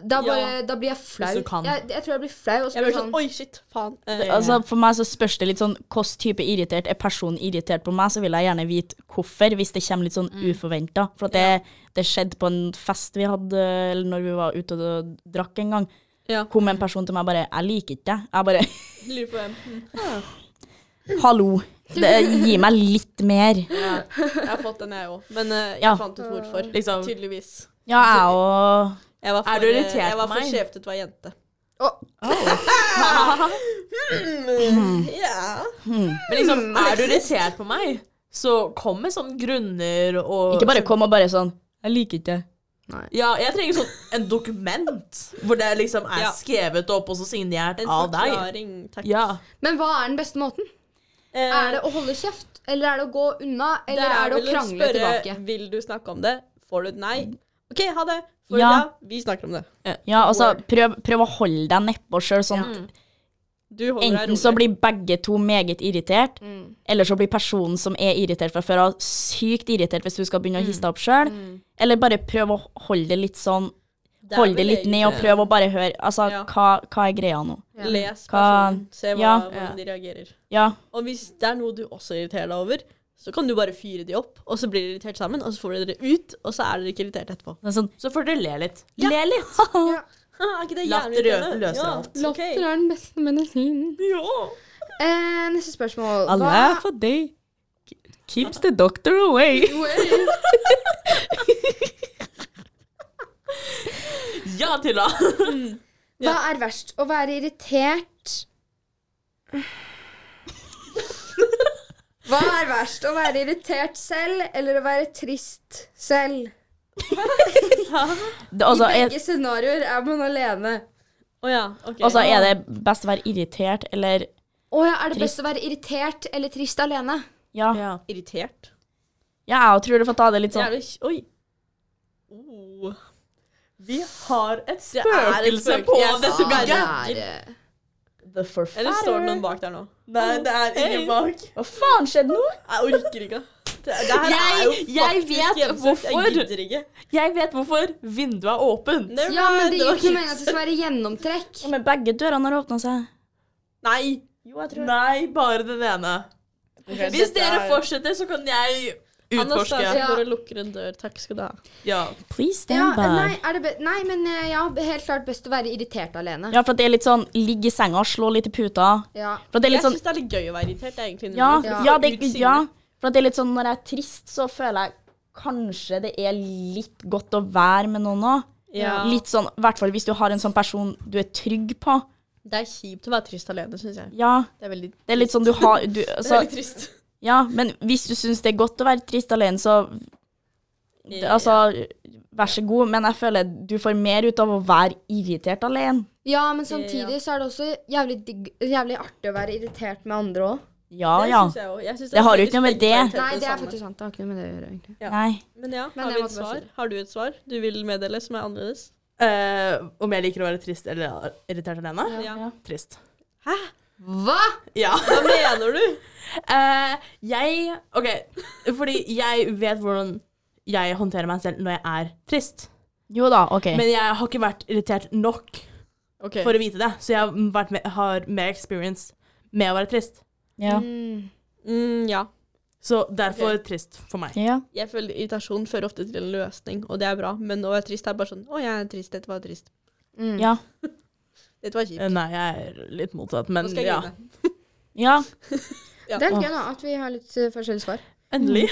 S5: Da, bare, da blir jeg flau.
S8: Hvis du kan.
S5: Jeg, jeg tror jeg blir flau. Og så
S6: Jeg
S5: blir
S6: blir sånn
S5: sånn,
S6: Oi, shit. Faen. Eh,
S3: Altså, for meg så spørs det litt sånn hvilken type irritert. Er personen irritert på meg, så vil jeg gjerne vite hvorfor, hvis det kommer litt sånn uforventa. For at det, det skjedde på en fest vi hadde, eller når vi var ute og drakk en gang.
S6: Ja.
S3: Kom en person til meg bare 'Jeg liker ikke deg'. Jeg bare
S6: Lurer på hvem.
S3: Hallo. Det, gi meg litt mer.
S6: Jeg har fått den, jeg òg. Men eh, jeg
S3: Ja.
S6: fant ut hvorfor.
S8: Liksom.
S6: Tydeligvis.
S3: Ja, jeg og
S6: Jeg var for,
S8: Er du irritert
S6: eh, Jeg var
S8: på
S6: for
S8: meg?
S6: skjevt ut å være jente.
S5: Å.
S6: Hmm, Ja.
S8: Men liksom, er du irritert på meg, så kommer sånne grunner og
S3: Ikke bare kom og bare sånn 'Jeg liker ikke deg'.
S8: Ja, jeg trenger sånn en dokument hvor det liksom er
S6: Ja.
S8: skrevet opp og så signert
S6: En
S8: av deg.
S6: forklaring, takk.
S8: Ja.
S5: sånn, Men hva er den beste måten?
S6: Eh,
S5: Er det å holde kjeft? Eller er det å gå unna? Eller er, det å
S6: vel
S5: krangle tilbake?
S6: Vil du snakke om det? Får du et nei? OK, ha det. Får du
S3: Ja.
S6: ja. Vi snakker om det.
S3: Ja, altså, prøv, prøv å holde deg nedpå sjøl, sånn at
S6: Du holder deg
S3: enten så
S6: rolig. Mm.
S3: blir begge to meget irritert, eller så blir personen som er irritert fra før av, sykt irritert hvis du skal
S6: Mm.
S3: begynne å hisse deg opp sjøl. Eller bare prøv å holde det litt sånn
S6: Det er
S3: Holde det
S6: vel
S3: litt ned og
S6: egentlig-
S3: prøv å bare høre Altså,
S6: Ja.
S3: hva, hva er greia nå?
S6: Les
S3: Hva-
S6: personen. Se hva,
S3: Ja.
S6: hvordan de reagerer.
S3: Ja.
S6: Og hvis det er noe du også irriterer deg over, så kan du bare fyre de opp, og så blir de irritert sammen, og så får dere dere ut, og så er dere ikke irritert etterpå.
S3: det er Sånn,
S8: Så får dere le litt.
S6: Ja.
S8: Le litt.
S6: Ha, er ikke det
S8: Latter
S6: jævlig irriterende?
S8: løser
S6: ja,
S8: alt.
S6: ok.
S5: Latter er den beste medisinen. Eh, neste spørsmål.
S7: Alle er for deg. Keeps the doctor away.
S8: Ja, Tilla.
S5: Mm. hva er verst? Å være irritert Hva er verst? Å være irritert selv eller å være trist selv?
S3: det,
S5: I
S3: altså, er,
S5: begge scenarioer er man alene.
S6: Å ja, ok.
S3: altså, er det best å være irritert, eller
S5: Å ja, er det
S3: Trist.
S5: best å være irritert eller trist alene?
S3: Ja, ja
S8: Ja.
S6: irritert?
S3: jeg tror du får ta det litt sånn.
S6: Jævlig kj- Oi. Oh. Vi har et
S8: Spøkelse på dette
S5: Ah, det
S8: bygget.
S5: er eh,
S3: The forfatter.
S6: Eller står det noen bak der nå?
S8: Nei, det er ingen bak.
S3: Hva faen skjedde nå?
S6: Jeg orker ikke. Det, det her er
S8: Jeg-
S6: jo
S8: jeg
S6: faktisk
S8: vet
S6: hjemsøkt.
S8: hvorfor.
S6: Jeg gidder ikke.
S8: Jeg vet hvorfor. Vinduet er åpent.
S6: Never
S5: Ja, men
S6: mind,
S5: det gir jo
S6: var
S5: ikke noe mening at det skal være gjennomtrekk.
S3: Ja, men begge dørene har åpna seg.
S6: Nei.
S8: Nei, bare den ene. Hvis dere fortsetter, så kan jeg utforske.
S6: Anastasia
S5: Ja.
S6: går og lukker en dør. Takk skal du ha.
S8: Ja.
S3: Please
S5: Ja,
S3: stand by.
S5: nei, er det be nei, men eh, ja, helt klart best å være irritert alene.
S3: Ja, for at det er litt sånn ligg i senga, slå litt i puta.
S5: Ja.
S3: For at det er
S6: Jeg
S3: litt sånn
S6: syns det er litt gøy å være irritert. Det er egentlig
S3: ja,
S6: innimellom, for
S3: ja,
S6: du får
S3: det,
S6: ut sinnet.
S3: ja, for at det er litt sånn når jeg er trist, så føler jeg kanskje det er litt godt å være med noen òg.
S6: Ja.
S3: Litt sånn, i hvert fall hvis du har en sånn person du er trygg på.
S6: Det er kjipt å være trist alene, syns jeg.
S3: Ja,
S6: Det er veldig,
S3: det er litt sånn du har du,
S6: det er
S3: altså,
S6: veldig trist.
S3: Ja, men hvis du syns det er godt å være trist alene, så det- Altså, vær så god, men jeg føler du får mer ut av å være irritert alene.
S5: ja, men samtidig så er det også jævlig, digg, jævlig artig å være irritert med andre òg.
S3: Ja,
S6: Det
S3: ja.
S6: syns jeg også. Jeg syns
S3: Det har jo
S6: veldig
S3: ikke noe med
S6: stygt å være
S3: det.
S6: irritert på
S5: Nei, det er
S6: samme.
S5: faktisk sant. Det har ikke noe med det å gjøre, egentlig.
S6: Ja.
S3: Nei.
S6: Men ja,
S5: Men
S6: har,
S5: jeg
S6: vi et
S5: måtte bare si
S6: svar? har du et svar du vil meddele som er annerledes?
S8: Eh, om jeg liker å være trist eller irritert alene?
S6: Ja.
S8: Trist.
S5: Hva?!
S8: Ja.
S6: Hva mener du?
S8: Eh, jeg OK, fordi jeg vet hvordan jeg håndterer meg selv når jeg er trist.
S3: Jo da, OK.
S8: Men jeg har ikke vært irritert nok for å vite det. Så jeg har, vært med, har mer experience med å være trist.
S3: ja.
S5: Mm.
S6: Mm, ja.
S8: Så derfor trist for meg.
S3: ja.
S6: Jeg føler irritasjon fører ofte til en løsning, og det er bra. Men å være trist er bare sånn Å, jeg er trist. Dette var trist.
S5: Mm.
S3: Ja.
S6: Dette var kjipt.
S8: Eh, Nei, jeg er litt motsatt, men
S6: Nå skal jeg
S8: ja.
S6: grine.
S3: ja.
S5: Det er litt gøy da, at vi har litt eh, forskjellige svar.
S8: Endelig.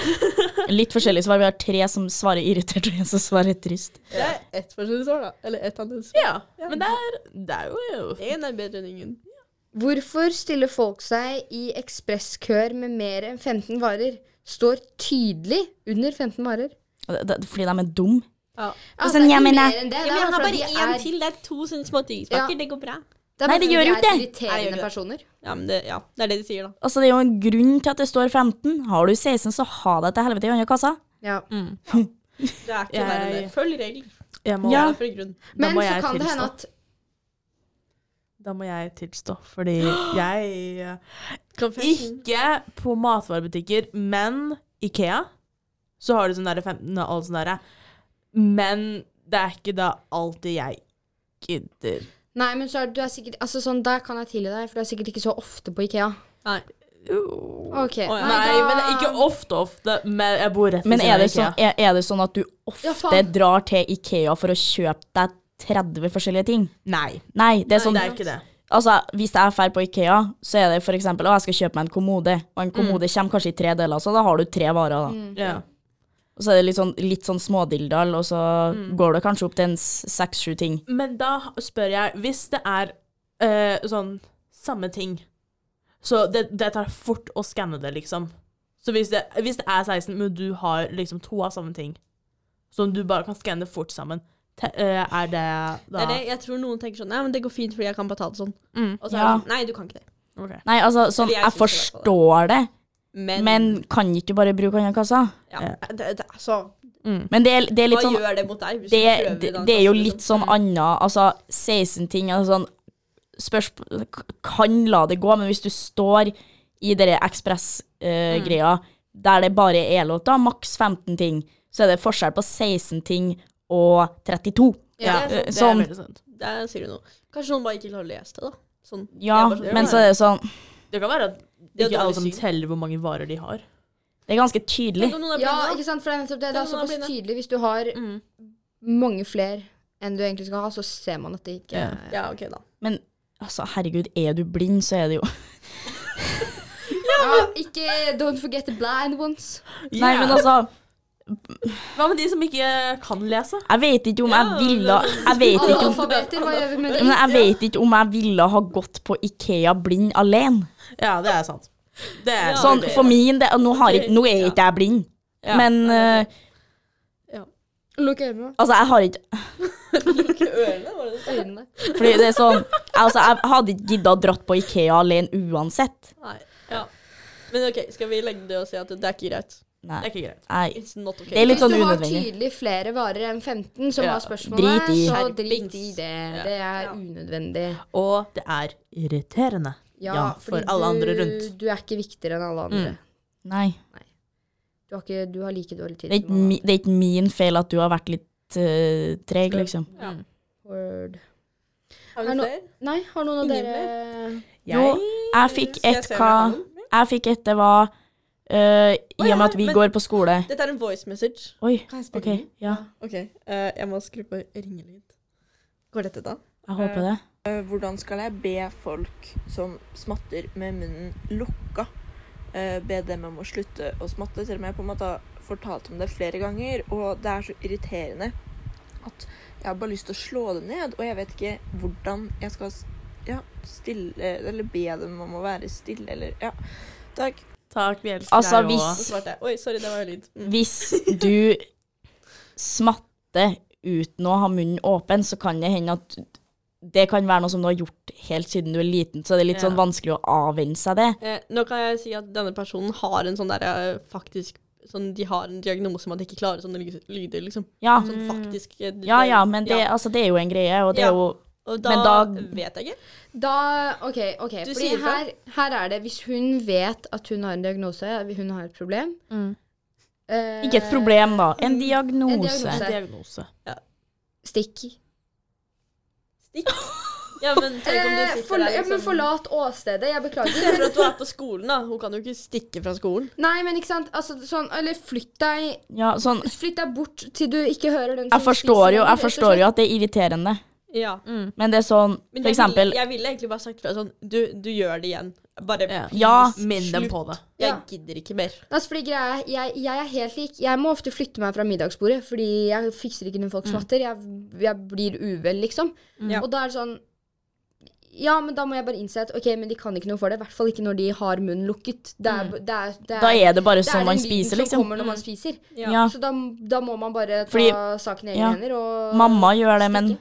S3: Litt forskjellig svar. Vi har tre som svarer irritert, og en som svarer trist.
S6: Det er ett forskjellig svar, da. Eller ett annerledes.
S8: Ja, men det er, det er jo
S6: Én er bedre enn ingen.
S5: Hvorfor stiller folk seg i ekspresskøer med mer enn 15 varer? Står tydelig under 15 varer.
S3: Og det- det- Fordi de er dumme.
S6: Ja.
S5: Altså, det er
S3: sånn, ja,
S5: ikke
S3: men
S5: mer
S3: jeg-
S5: enn det.
S6: Ja,
S5: Det
S6: men
S5: er
S6: jeg har
S5: bare
S6: bare
S5: fordi de
S6: én
S5: er-
S6: til. Det er to sånne små tyggispakker.
S5: Ja.
S6: Det går bra.
S5: Det er bare
S3: Nei, det
S5: fordi
S3: gjør
S5: de
S3: jo
S5: er
S3: ikke det.
S6: Nei, det gjør
S5: Irriterende
S6: ikke det.
S5: personer.
S6: Ja, men det, ja, det er det de sier, da.
S3: Altså, det er jo en grunn til at det står 15. Har du 16, så ha deg til helvete i andre kassa.
S5: Ja.
S6: Det er ikke verre enn det.
S8: Jeg-
S6: Følg regler.
S8: jeg må,
S6: Ja. For en grunn.
S5: Men
S8: må
S5: så
S8: jeg
S5: kan det
S8: tilstå.
S5: hende at
S8: Da må jeg tilstå, fordi jeg eh, Ikke på matvarebutikker, men Ikea. Så har du sånn derre 15 og alt sånn derre. Men det er ikke da alltid jeg gidder.
S5: Nei, men så er du er sikkert Altså sånn, Der kan jeg tilgi deg, for du er sikkert ikke så ofte på Ikea.
S6: Nei.
S3: Oh.
S5: Ok,
S6: Å, ja.
S8: Nei,
S5: da-
S8: men ikke ofte, ofte. Men jeg bor rett ved
S3: Men er
S8: siden av
S3: det,
S8: Ikea.
S3: sånn, er, er det sånn at du
S5: Ja,
S3: ofte
S5: faen.
S3: drar til Ikea for å kjøpe deg 30 forskjellige ting?
S8: Nei,
S3: Nei, det er sånn
S8: det er ikke det.
S3: Altså, hvis jeg drar på Ikea, så er det for eksempel å, jeg skal kjøpe meg en kommode, og en kommode kommer kanskje i tre deler, så da har du tre varer, da.
S8: Ja.
S3: Og så er det litt sånn, litt sånn smådildal, og så
S6: Mm.
S3: går det kanskje opp til en s- seks-sju ting.
S8: Men da spør jeg, hvis det er eh, sånn samme ting Så det, det tar fort å skanne det, liksom. Så hvis det, hvis det er 16, men du har liksom to av samme ting, som du bare kan skanne fort sammen, te, eh, er det da
S6: Det er det. Jeg tror noen tenker sånn Nei, men det går fint, fordi jeg kan bare ta det sånn.
S8: Mm.
S6: Og så er
S3: Ja.
S6: det sånn Nei, du kan ikke det.
S3: Nei, altså, sånn,
S6: Eller jeg
S3: jeg
S6: synes i hvert fall det.
S3: forstår det,
S6: Men,
S3: men kan ikke du bare bruke andre kassa?
S6: ja. det, det, altså,
S3: Men det er, det er
S6: Hva
S3: litt sånn
S6: gjør det mot deg? Hvis
S3: det,
S6: du prøver
S3: det,
S6: den
S3: det er jo
S6: klassen,
S3: litt
S6: liksom?
S3: sånn anna Altså 16 ting altså sånn, spørs, Kan la det gå, men hvis du står i dere ekspress-greia
S6: Mm.
S3: der det bare er lov til å ha maks 15 ting, så er det forskjell på 16 ting og 32.
S8: Ja,
S6: det
S8: eh, det
S6: er
S8: er
S3: sånn-
S8: veldig sant.
S6: Der sier du noe. Kanskje noen bare ikke har lest det, da. Sånn. Jeg
S3: Ja,
S6: bare sånn,
S3: men
S6: ja,
S3: så er det sånn
S8: Det kan være at
S6: Det er
S8: ikke alle
S6: dårlig
S8: som
S6: syn.
S8: teller hvor mange varer de har.
S3: Det er ganske tydelig.
S6: Tenk om noen er
S5: Ja,
S6: blinde, da.
S5: ikke sant? For det er nettopp det. Det
S6: Ja,
S5: er
S6: noen er
S5: såpass
S6: blinde.
S5: tydelig hvis du har mange flere enn du egentlig skal ha, så ser man at det ikke
S8: Ja.
S5: er
S6: Ja, ok, da.
S3: Men altså, herregud, er du blind, så er det jo
S5: ja, Ikke Don't forget the blind ones.
S3: Nei, men altså,
S8: Hva med de som ikke kan lese?
S3: jeg vet ikke om jeg ville Jeg vet
S5: Alle
S3: ikke om
S5: alfabeter, hva gjør vi med
S3: men
S5: det?
S3: jeg vet ikke om jeg ville ha gått på Ikea blind alene.
S8: Ja, det er sant. Det er
S6: Ja.
S3: Sånn,
S6: det-
S3: for min del og Nå, har
S6: Ok,
S3: ikke- nå er
S6: ja.
S3: ikke jeg blind.
S8: Ja.
S3: Men eh,
S5: Lukk øynene.
S3: altså, jeg har ikke
S6: Ikke ørene, var det det?
S5: Øynene.
S3: Fordi det er sånn Altså, jeg hadde ikke gidda å dratt på Ikea alene uansett.
S6: Nei. Ja. Men ok, skal vi legge det og si at det er ikke greit?
S8: Det er
S3: Nei.
S8: ikke greit.
S3: nei.
S6: It's not ok.
S3: Det er litt
S5: Hvis
S3: sånn
S5: du har
S3: unødvendig.
S5: tydelig flere varer enn 15 som
S8: Ja,
S5: var spørsmålet,
S3: drit i.
S5: så
S6: Skjerpings.
S5: drit i det. Det er
S6: Ja.
S5: unødvendig.
S8: Og det er irriterende. Ja, for
S5: fordi
S8: alle andre
S5: du-
S8: rundt.
S5: Du er ikke viktigere enn alle
S3: Mm.
S5: andre.
S3: Nei.
S5: Du, har ikke, du har like dårlig tid
S3: Det er, ikke
S5: som alle.
S3: mi, det er ikke min feil at du har vært litt eh, treg, liksom.
S5: Word.
S6: Har
S5: Er
S6: vi
S5: no-
S6: flere?
S5: Nei, har noen av
S6: Ingen
S5: dere
S3: Jo, jeg fikk
S6: Skal jeg
S3: et
S6: se om jeg har
S3: hva
S6: noen?
S3: Jeg fikk et det var eh,
S6: Å,
S3: I
S6: ja,
S3: og med at vi
S6: men-
S3: går på skole.
S6: Dette er en voice message.
S3: Oi,
S6: Kan jeg spille
S3: OK.
S6: den?
S3: Ja,
S6: Ok, eh, jeg må skru på ringelyd. Går dette da?
S3: jeg håper det.
S9: Eh, Hvordan skal jeg be folk som smatter med munnen lukka, eh, be dem om å slutte å smatte? Selv om jeg på en måte har fortalt om det flere ganger, og det er så irriterende at jeg har bare lyst til å slå det ned, og jeg vet ikke hvordan jeg skal s- ja, stille, eller be dem om å være stille, eller ja. Takk.
S8: Takk, vi elsker
S3: Altså,
S8: deg
S3: hvis-
S6: Så svarte jeg. Oi, sorry, det var jo lyd. Mm.
S3: Hvis du smatter uten å ha munnen åpen, så kan det hende at det kan være noe som du har gjort helt siden du er liten, så det er litt
S8: Ja.
S3: sånn vanskelig å avvenne seg det.
S6: Eh, nå kan jeg si at denne personen har en sånn der eh, faktisk sånn, De har en diagnose om at de ikke klarer sånne ly- lyder, liksom.
S3: Ja,
S9: Mm.
S6: Sånn faktisk eh, det-
S3: ja, ja men det, altså, det er jo en greie, og det er jo
S6: Og da,
S3: men da-
S6: vet jeg ikke.
S5: Da, OK. ok
S6: Du
S5: fordi
S6: sier fra.
S5: her, her er det Hvis hun vet at hun har en diagnose, hun har et problem eh,
S3: Mm. ikke et problem, da. En diagnose.
S5: en diagnose.
S8: Diagnose.
S5: Stikk.
S6: Stikk. Ja, men tenk om du
S5: Eh,
S6: sitter
S5: for,
S6: der
S5: ja, men
S6: liksom
S5: forlat åstedet. Jeg
S6: Se for
S5: beklager.
S6: at du er på skolen, da. Hun kan jo ikke stikke fra skolen.
S5: Nei, men ikke sant. Altså, sånn, eller flytt deg,
S3: Ja, sånn,
S5: flytt deg bort til du ikke hører den
S3: jeg
S5: som spiser
S3: forstår jo,
S5: den,
S3: jeg
S5: rett og slett.
S3: forstår jo at det er irriterende.
S6: Ja.
S8: Mm.
S3: Men det er
S6: Men
S3: sånn, for
S6: jeg ville,
S3: eksempel
S6: jeg ville egentlig bare sagt fra sånn Du, du gjør det igjen. Bare
S8: Ja.
S3: Ja.
S8: Minn dem på det.
S6: Jeg
S5: Ja.
S6: gidder ikke mer.
S5: Altså, fordi greia, er, jeg, jeg er helt lik. Jeg må ofte flytte meg fra middagsbordet, fordi jeg fikser ikke når folk
S3: Mm.
S5: smatter. Jeg, jeg blir uvel, liksom.
S6: Ja.
S5: Og da er det sånn Ja, men da må jeg bare innse at ok, men de kan ikke noe for det. I hvert fall ikke når de har munnen lukket. Det er, det er, det er,
S3: Mm. Da er det bare
S5: det er
S3: sånn
S5: den
S3: man
S5: lyden
S3: spiser,
S5: Som
S3: liksom.
S5: kommer når man spiser.
S3: Ja.
S5: Så da, da må man bare ta
S3: Fordi-
S5: saken i egne
S3: ja.
S5: hender og
S3: Mamma gjør det, men
S5: stikke.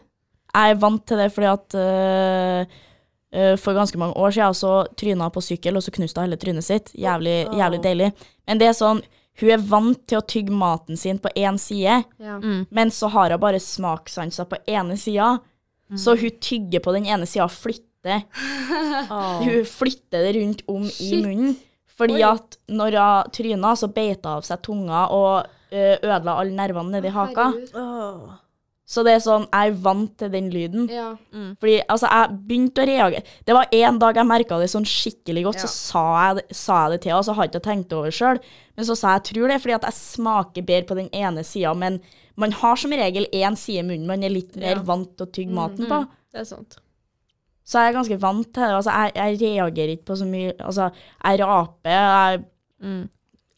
S3: jeg er vant til det fordi at øh, øh, for ganske mange år siden så tryna hun på sykkel, og så knuste hun hele trynet sitt. Jævlig, jævlig deilig. Men det er sånn, hun er vant til å tygge maten sin på én side,
S5: Ja.
S3: men så har hun bare smakssanser på ene sida.
S5: Mm.
S3: Så hun tygger på den ene sida og flytter. Hun flytter det rundt om i
S5: Shit.
S3: munnen. Fordi at når hun tryna, så beit hun av seg tunga og øh, ødela alle nervene nedi haka.
S5: Herregud.
S3: Så det er sånn, jeg er vant til den lyden.
S5: Ja.
S3: Fordi altså, jeg begynte å reagere. Det var en dag jeg merka det sånn skikkelig godt, så sa jeg, det- sa jeg det til henne, og så har jeg ikke tenkt over det sjøl. Men så sa jeg jeg tror det er fordi at jeg smaker bedre på den ene sida, men man har som regel én side i munnen man er litt mer vant til å tygge maten på.
S6: Det er sant.
S3: Så jeg er ganske vant til det. Altså, jeg, jeg reagerer ikke på så mye Altså, jeg raper, jeg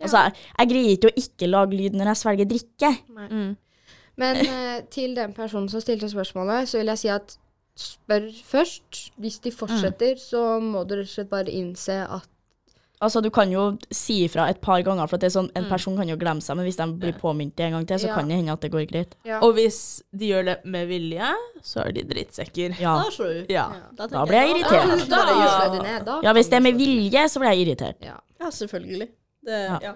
S3: Altså, jeg, jeg greier ikke å ikke lage lyd når jeg svelger drikke.
S5: Men eh, til den personen som stilte spørsmålet, så vil jeg si at spør først. Hvis de
S3: Mm.
S5: fortsetter, så må du rett og slett bare innse at
S3: Altså, du kan jo si ifra et par ganger, for at det er sånn, en person kan jo glemme seg, men hvis de blir påminnet det en gang til, så
S5: Mm. Ja.
S3: kan det hende at det går greit.
S8: Og hvis de gjør det med vilje, så er de drittsekker.
S3: Ja.
S6: Da slår du.
S8: Ja.
S6: tenker
S3: Da blir jeg
S6: jeg,
S5: Da
S3: irritert.
S5: kan du bare gjøre det ned. Da
S3: Ja, hvis det
S5: kan
S3: er
S5: du slå det ned.
S3: med vilje, så blir jeg irritert.
S5: Ja.
S6: Ja, selvfølgelig. Det,
S3: Ja.
S6: ja.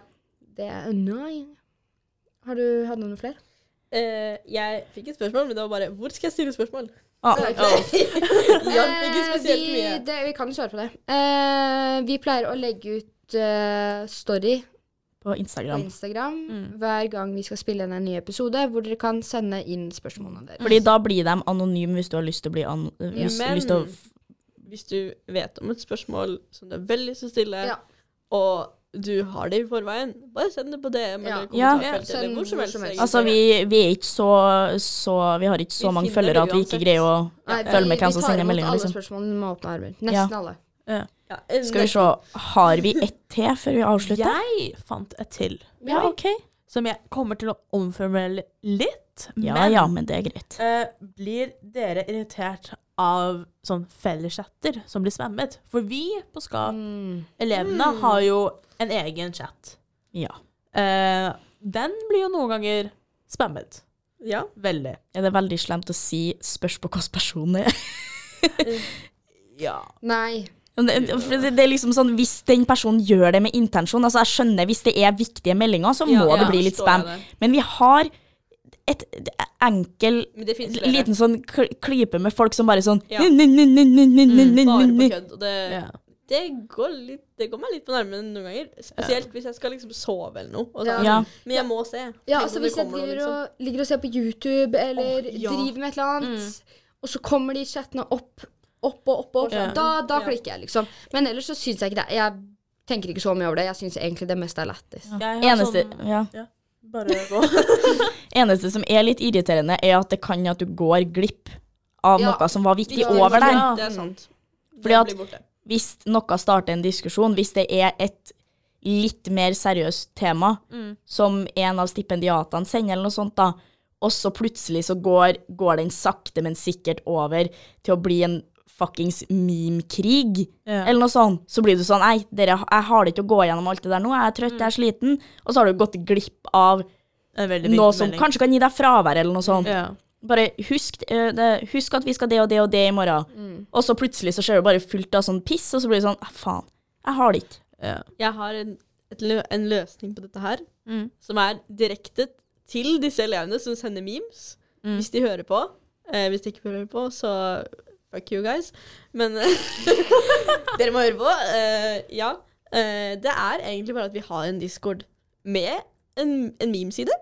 S5: Det er Nei. Har du hatt noen flere?
S6: Eh, jeg fikk et spørsmål, men det var bare Hvor skal jeg stille spørsmål?
S3: Ah,
S6: Jeg fikk ikke
S5: Eh,
S6: spesielt
S5: vi,
S6: mye.
S5: det, vi kan jo svare på det. Eh, vi pleier å legge ut eh, story
S3: på
S5: på
S3: Instagram. Mm.
S5: Instagram hver gang vi skal spille inn en ny episode, hvor dere kan sende inn spørsmålene deres.
S3: Fordi da blir de anonyme hvis du har lyst til å bli an... Hvis,
S6: Men-
S3: lyst til å f-
S6: Hvis du vet om et spørsmål som du har veldig lyst til å stille,
S5: Ja.
S6: og du har det i forveien, bare send det på DM eller
S3: Ja.
S6: kommentarfeltet
S5: Ja.
S6: eller hvor som helst.
S5: Send hvor som helst.
S3: Altså, vi, vi er ikke så, så Vi har ikke så
S6: Vi
S3: mange
S6: finner
S3: følgere at vi ikke
S6: uansett.
S3: greier å
S5: Nei,
S3: følge med hvem som sender
S5: Vi tar imot
S3: meldinger,
S5: alle
S3: liksom.
S5: spørsmålene med åpne armer.
S3: Ja.
S5: Nesten alle.
S6: Ja, eh,
S3: Skal vi se, har vi ett til før vi avslutter?
S8: Jeg fant et til
S3: Ja, OK.
S8: som jeg kommer til å omformulere litt.
S3: Ja
S8: men
S3: ja, men det er greit.
S8: eh, blir dere irritert av sånn felleschatter som blir spammet? For vi på Skap,
S6: Mm.
S8: elevene, har jo en egen chat.
S3: Mm. Ja.
S8: Eh, den blir jo noen ganger spammet.
S6: Ja.
S8: Veldig.
S3: Er det veldig slemt å si 'spørs på hvilken person det er'?
S8: Ja.
S5: Nei.
S3: Men Det, for det det er liksom sånn, Hvis den personen gjør det med intensjon altså jeg skjønner Hvis det er viktige meldinger, så må
S6: ja,
S3: det bli litt
S6: forstår
S3: spam.
S6: jeg det.
S3: Men vi har et enkel
S6: Men det finnes flere.
S3: liten sånn kl- klype med folk som bare sånn
S6: Ja. Mm, Bare på
S3: Bare
S6: kødd. Og det,
S8: Ja.
S6: det, går litt, det går meg litt på nervene noen ganger. Spesielt hvis jeg skal liksom sove eller noe. Og sånn.
S3: Ja.
S6: Men jeg må se.
S5: Ja,
S6: Tenk
S5: altså
S6: om det
S5: hvis jeg
S6: kommer noe,
S5: driver
S6: liksom.
S5: og, ligger og ser på YouTube eller
S6: Åh, ja. Mm.
S5: driver med et eller annet, og så kommer de chattene opp, opp og opp, og opp
S8: Ja.
S5: da, da
S6: Ja.
S5: klikker jeg, liksom. Men ellers så syns jeg ikke det. Jeg tenker ikke så mye over det. Jeg syns egentlig det meste er lættis.
S8: Jeg har
S3: Eneste,
S8: sånn-
S3: ja.
S8: Bare gå.
S3: Eneste som er litt irriterende, er at det kan at du går glipp av
S5: Ja.
S3: noe som var viktig
S6: Viktig
S3: over deg.
S6: Ja, Det er
S8: sånn.
S6: sant.
S3: Fordi at-
S6: det blir borte.
S3: Hvis noe starter en diskusjon, hvis det er et litt mer seriøst tema,
S8: Mm.
S3: som en av stipendiatene sender eller noe sånt, da, og så plutselig så går, går den sakte, men sikkert over til å bli en fuckings meme-krig,
S8: Ja.
S3: eller noe sånt, så blir du sånn, nei, dere, jeg har det ikke å gå gjennom alt det der nå, jeg er trøtt, jeg er sliten, og så har du gått glipp av
S8: En Mm. veldig viktig
S3: noe som
S8: melding.
S3: kanskje kan gi deg fravær, eller noe sånt.
S8: ja.
S3: Bare husk, eh, det, husk at vi skal det og det og det i morgen. Og så plutselig så ser du bare fullt av sånn piss, og så blir det sånn, «Ah, faen, jeg har det ikke.
S8: Ja.
S6: Jeg har en, et, lø- en løsning på dette her, som er direkte til disse elevene som sender memes, hvis de hører på. Eh, hvis de ikke hører på, så fuck you guys. Men dere må høre på. Eh, ja. Eh, det er egentlig bare at vi har en discord med en, en memeside.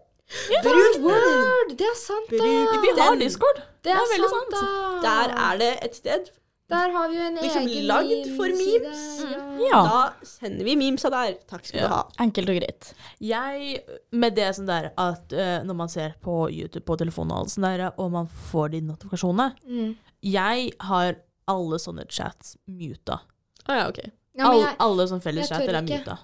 S6: Bruk den!
S5: Word! Det er sant, da!
S6: Bruk
S8: Vi har
S6: den.
S8: Discord.
S5: Det er
S8: veldig
S5: sant, da!
S6: Der er det et sted.
S5: Der har vi jo en
S6: Liksom
S5: egen
S6: lagd for
S5: memeside.
S6: memes.
S3: Ja.
S6: Da sender vi memesa der. Takk skal
S8: Ja.
S6: du ha.
S3: Enkelt og greit.
S8: Jeg, med det som det er at eh, når man ser på YouTube på telefonen og alt sånt der, og man får de notifikasjonene
S5: Mm.
S8: Jeg har alle sånne chats muta.
S6: Å ja, ok.
S5: Ja,
S6: Mm.
S5: men
S8: All,
S5: jeg,
S8: alle sånne
S5: jeg
S8: felleschater
S5: tør
S8: er
S5: ikke.
S8: muta.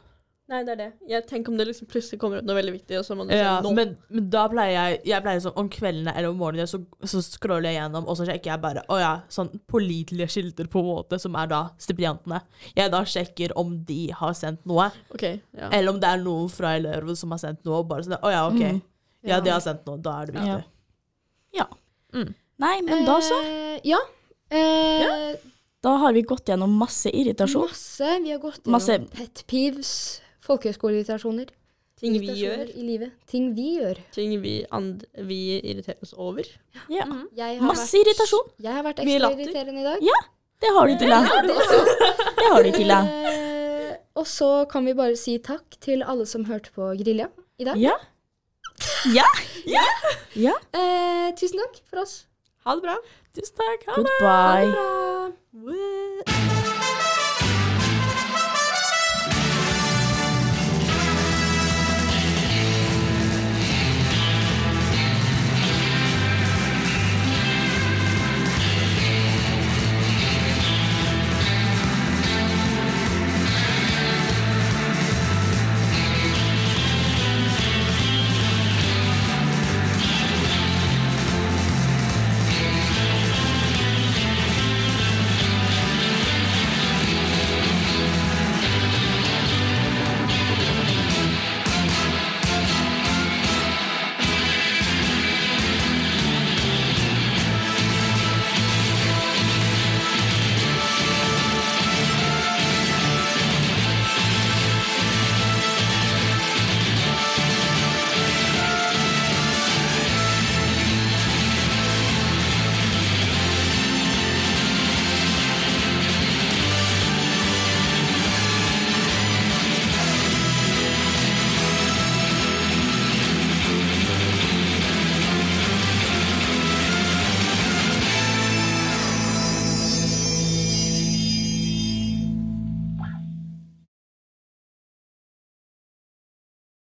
S6: Nei, det er det. Jeg tenker om det liksom plutselig kommer opp noe veldig viktig, og så må du
S8: Ja,
S6: si nå.
S8: men, men da pleier jeg Jeg pleier sånn om kveldene eller om morgenen så, så scroller jeg gjennom, og så sjekker jeg bare Å ja, sånn pålitelige skilter på en måte, som er da stipendiatene. Jeg da sjekker om de har sendt noe,
S6: Ok, ja.
S8: eller om det er noen fra eleven som har sendt noe, og bare sånn Å ja, OK.
S5: Mm.
S8: Ja, de har sendt noe. Da er det viktig.
S3: Ja. Nei, men da så.
S5: Eh, ja. Eh,
S3: Da har vi gått gjennom masse irritasjon.
S5: Masse. Vi har gått
S3: Masse.
S5: gjennom pet peeves, folkehøyskoleirritasjoner.
S6: Ting vi
S5: irritasjoner
S6: gjør.
S5: I livet. Ting vi gjør.
S6: Ting vi, and vi irriterer oss over.
S3: Ja.
S5: Jeg
S3: Masse irritasjon.
S5: Jeg har vært
S6: Mye
S5: ekstra
S6: latter.
S5: irriterende i dag.
S3: Ja, det har du til deg. Det har du til deg.
S5: Eh, og så kan vi bare si takk til alle som hørte på Grilja i dag.
S3: Ja. Ja. Ja.
S5: Eh, tusen takk for oss.
S6: Ha det bra.
S8: Tusen takk. Ha det.
S3: Goodbye.
S6: What?